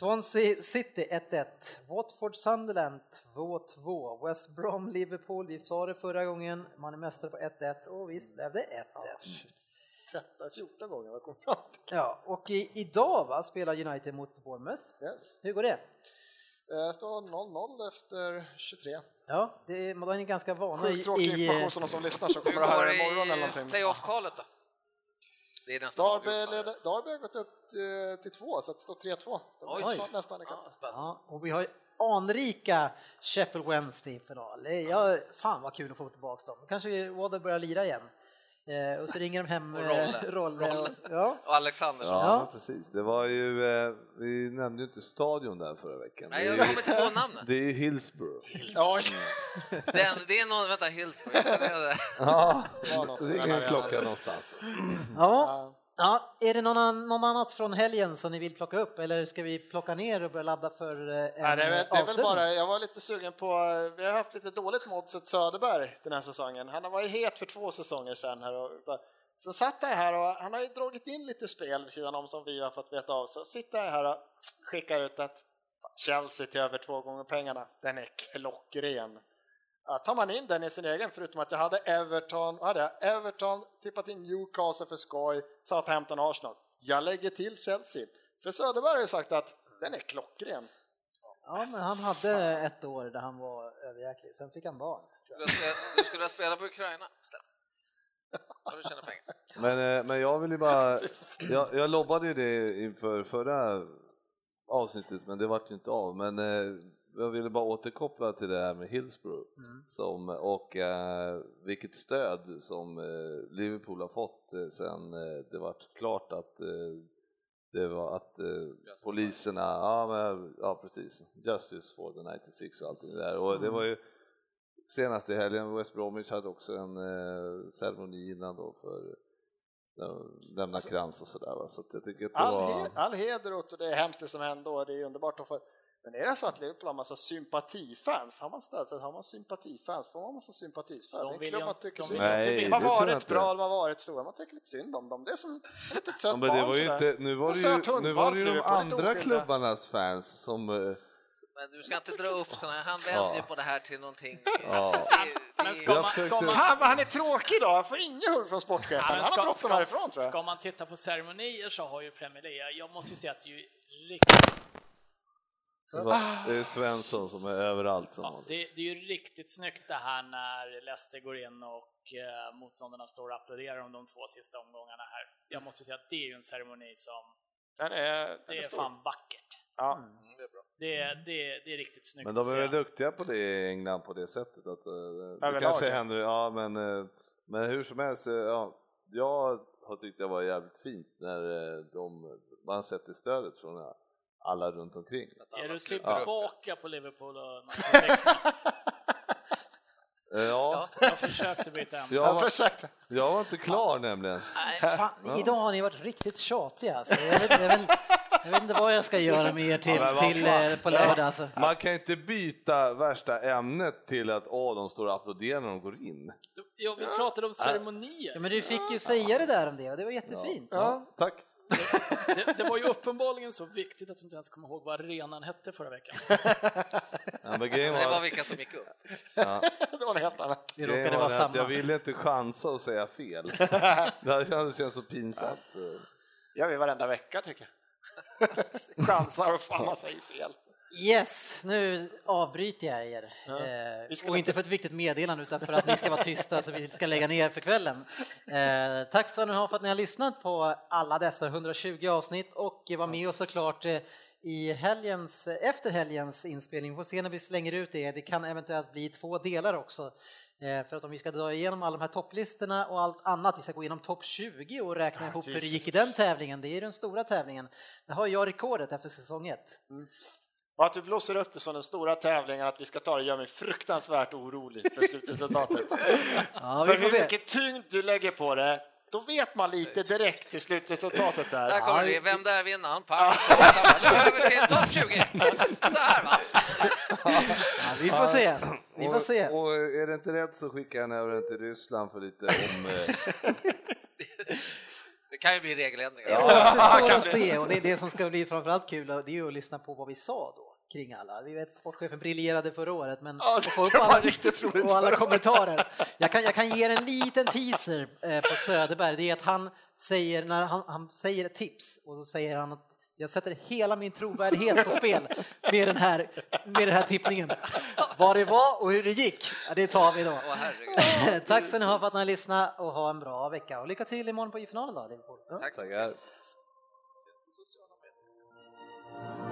Speaker 2: Swansea City 1-1, Watford Sunderland 2-2, West Brom Liverpool, vi sa det förra gången, man är mästare på 1-1 och visst blev det 1-1.
Speaker 3: 13, 14 gånger jag kom fram till.
Speaker 2: Ja, och i, idag va, spelar United mot Bournemouth.
Speaker 3: Yes.
Speaker 2: Hur går det?
Speaker 3: Eh, Står 0-0 efter 23.
Speaker 2: Ja, det är, man är ganska vana i...
Speaker 3: Sjukt tråkig
Speaker 2: i
Speaker 3: information för de som lyssnar som
Speaker 4: Hur
Speaker 3: kommer att höra
Speaker 4: går
Speaker 3: det imorgon eller
Speaker 4: det i
Speaker 3: någonting.
Speaker 4: playoff-kvalet då? Det är nästan
Speaker 3: Darby,
Speaker 4: avgjort, sa du.
Speaker 3: leder- Darby har gått upp eh, till- till 2 så att det står 3-2. De är
Speaker 4: Oj.
Speaker 3: snart nästan ikapp.
Speaker 4: Ja, spännande.
Speaker 2: ja, och vi har ju anrika Sheffield Wednesday i final. Det är- Ja, fan vad kul att få tillbaka dem. Kanske Wader börjar lira igen. Eh, och så ringer de hem
Speaker 4: Och
Speaker 2: eh,
Speaker 4: Rolle.
Speaker 2: Rolle.
Speaker 4: Rolle.
Speaker 2: Och, ja.
Speaker 4: Och Alexandersson.
Speaker 6: Ja,
Speaker 2: Ja.
Speaker 6: Men precis. Det var ju, eh, vi nämnde ju inte stadion där förra veckan.
Speaker 4: Nej,
Speaker 6: det, är
Speaker 4: jag
Speaker 6: ju,
Speaker 4: kommer inte på namnet.
Speaker 6: det är ju Hillsborough.
Speaker 3: Oj,
Speaker 4: Den, det är någon, vänta, Hillsborough, jag känner det.
Speaker 6: Ja,
Speaker 3: var något.
Speaker 6: det ringer en klocka någonstans.
Speaker 2: Ja. ja, är det någon, ann- någon annat från helgen som ni vill plocka upp eller ska vi plocka ner och börja ladda för eh, en
Speaker 3: Nej, det, är, väl- det är väl
Speaker 2: avslutning?
Speaker 3: bara, jag var lite sugen på, vi har haft lite dåligt mot Seth Söderberg den här säsongen. Han har varit het för två säsonger sedan. Här och, sen satt jag här och han har ju dragit in lite spel vid sidan om som vi har fått veta av. Så sitter jag här och skickar ut att Chelsea till över två gånger pengarna, den är klockren. Ja, tar man in den i sin egen, förutom att jag hade Everton, vad hade jag? Everton, tippat in Newcastle för skoj, Southampton, Arsenal. Jag lägger till Chelsea. För Söderberg har ju sagt att den är klockren.
Speaker 2: Ja, men han hade ett år där han var överjäklig, sen fick han barn. tror jag.
Speaker 4: Du skulle- Du skulle ha spelat på Ukraina istället. Har du tjänat pengar?
Speaker 6: Men, eh, men jag vill ju bara, jag, jag lobbade ju det inför förra avsnittet men det vart ju inte av. Men eh, jag ville bara återkoppla till det här med Hillsborough som, och eh, vilket stöd som eh, Liverpool har fått eh, sen eh, det vart klart att eh, det var att eh, poliserna, ja, men, ja precis, Justice for the 96 och allt det där. Och
Speaker 3: Mm.
Speaker 6: det var ju senast i helgen, West Bromwich hade också en eh, ceremoni innan då för när de lämnar krans och sådär. va. Så att jag tycker att det
Speaker 3: Alltså, All,
Speaker 6: var...
Speaker 3: he- all heder åt och det är hemskt det som hände och det är underbart att få men är det så att Liverpool har massa sympatifans? Har man stöd? Har man sympatifans? Får man massa sympatifans?
Speaker 5: De
Speaker 3: Det är
Speaker 5: vill
Speaker 3: klart
Speaker 5: ju-
Speaker 3: man tycker
Speaker 5: de
Speaker 3: synd
Speaker 5: vill ju
Speaker 3: om.
Speaker 5: inte
Speaker 6: Nej,
Speaker 5: vinna.
Speaker 3: De har
Speaker 6: det tror jag
Speaker 3: varit
Speaker 6: inte.
Speaker 3: bra, de har varit stora, man tycker lite synd om dem. Det är som ett litet
Speaker 6: Ja,
Speaker 3: sött
Speaker 6: men det
Speaker 3: barn
Speaker 6: var ju
Speaker 3: sådär.
Speaker 6: inte, nu var
Speaker 3: Och
Speaker 6: det
Speaker 3: så
Speaker 6: ju,
Speaker 3: att hundvalp
Speaker 6: nu var det ju de
Speaker 3: kryper, lite
Speaker 6: andra
Speaker 3: oskyldiga.
Speaker 6: klubbarnas fans som... eh,
Speaker 4: Men du ska inte dra upp sådana, han vänder ju på det här till någonting.
Speaker 6: Ja.
Speaker 5: Men ska
Speaker 6: Jag
Speaker 5: man,
Speaker 6: försökte-
Speaker 5: ska man,
Speaker 3: Fan vad han är tråkig idag, han får inget hugg från
Speaker 5: Ja,
Speaker 3: sportchefen.
Speaker 5: men
Speaker 3: han
Speaker 5: ska-
Speaker 3: har bråttom
Speaker 5: ska-
Speaker 3: härifrån tror jag.
Speaker 5: Ska man titta på ceremonier så har ju Premier League, jag måste ju säga att det är ju riktigt,
Speaker 6: det var- Det är Svensson som är överallt. Som
Speaker 5: ja, det, det är ju riktigt snyggt det här när Leicester går in och eh, motståndarna står och applåderar om de två sista omgångarna här. Jag måste ju säga att det är ju en ceremoni som,
Speaker 3: Den är, den
Speaker 5: det
Speaker 3: är
Speaker 5: är
Speaker 3: stor.
Speaker 5: fan Mm. vackert.
Speaker 3: Ja.
Speaker 5: Det, det, det är riktigt snyggt
Speaker 6: Men de
Speaker 5: att
Speaker 6: är
Speaker 5: se.
Speaker 6: väl duktiga på det i England på det sättet att eh, det
Speaker 3: Överlag,
Speaker 6: kanske
Speaker 3: ja.
Speaker 6: händer, ja men, eh, men hur som helst, eh, ja, jag har tyckt det var jävligt fint när eh, de, man sätter stödet från eh, alla runt omkring.
Speaker 5: Är du typ
Speaker 6: Ja.
Speaker 5: tillbaka på Liverpool och Manchester United?
Speaker 6: Eh, Ja,
Speaker 5: Jag försökte byta ämne.
Speaker 6: jag
Speaker 3: Jag
Speaker 6: var,
Speaker 3: försökte.
Speaker 6: jag var inte klar nämligen.
Speaker 2: Nej, fan, idag har ni varit riktigt tjatiga. Alltså. Jag, vet, jag, vet, jag vet inte vad jag ska göra med er till,
Speaker 6: Ja, men vad
Speaker 2: till
Speaker 6: fan.
Speaker 2: eh, på lördag. Alltså.
Speaker 6: Man kan ju inte byta värsta ämnet till att åh, de står och applåderar när de går in.
Speaker 5: Ja, vi pratade om
Speaker 2: Ja,
Speaker 5: ceremonier.
Speaker 2: men du fick ju säga det där om det och det var jättefint.
Speaker 6: Ja, tack.
Speaker 5: Det, det var ju uppenbarligen så viktigt att du inte ens kommer ihåg vad arenan hette förra veckan.
Speaker 6: Ja, men grejen
Speaker 4: Men det var
Speaker 6: var,
Speaker 4: vilka som gick upp.
Speaker 3: Det var något helt annat.
Speaker 2: Det
Speaker 6: grejen
Speaker 2: råkade vara
Speaker 6: var det att jag
Speaker 2: samma.
Speaker 6: ville inte chansa och säga fel. Det hade känts- känts så pinsamt. eh.
Speaker 3: gör vi varenda vecka tycker jag. Chansar och fan man säger fel.
Speaker 2: Yes, nu avbryter jag er.
Speaker 3: Vi
Speaker 2: Eh,
Speaker 3: ska
Speaker 2: och inte för ett viktigt meddelande utan för att ni ska vara tysta så vi ska lägga ner för kvällen. Eh, tack så ni har för att ni har lyssnat på alla dessa 120 avsnitt och var med oss såklart eh, i helgens, efter helgens inspelning. Vi får se när vi slänger ut det. Det kan eventuellt bli två delar också. Eh, För att om vi ska dra igenom alla de här topplistorna och allt annat, vi ska gå igenom topp 20 och räkna ihop hur det gick i den tävlingen, det är ju den stora tävlingen. Där har jag rekordet efter säsong 1.
Speaker 3: Och att du blåser upp det som den stora tävlingen att vi ska ta det gör mig fruktansvärt orolig för slutresultatet.
Speaker 2: Ja,
Speaker 3: för hur mycket tyngd du lägger på det, då vet man lite direkt hur slutresultatet
Speaker 4: Så här
Speaker 3: är.
Speaker 4: kommer det, vem där vinner? Han pang, så, samma. Nu över till topp 20! Så här va!
Speaker 2: Ja, vi får se. Vi får se.
Speaker 6: Och, och är det inte rätt så skickar han över den till Ryssland för lite om... eh,
Speaker 4: Det kan ju bli regeländringar.
Speaker 2: Det återstår att se och det är det som ska bli framförallt kul, och det är ju att lyssna på vad vi sa då kring alla. Vi vet sportchefen briljerade förra året, men
Speaker 3: Ja,
Speaker 2: att
Speaker 3: det
Speaker 2: få upp
Speaker 3: var
Speaker 2: alla,
Speaker 3: riktigt roligt
Speaker 2: och alla
Speaker 3: förra året.
Speaker 2: kommentarer. Jag kan, jag kan ge er en liten teaser eh, på Söderberg, det är att han säger, när han, han säger ett tips och så säger han att jag sätter hela min trovärdighet på spel med den här, med den här tippningen. Vad det var och hur det gick, ja, det tar vi då.
Speaker 4: Åh herregud.
Speaker 2: Tack ska ni ha för att ni har lyssnat och ha en bra vecka och lycka till imorgon på i-finalen då, Liverpool.
Speaker 4: Tack så mycket.
Speaker 6: tackar.
Speaker 4: Sociala medier.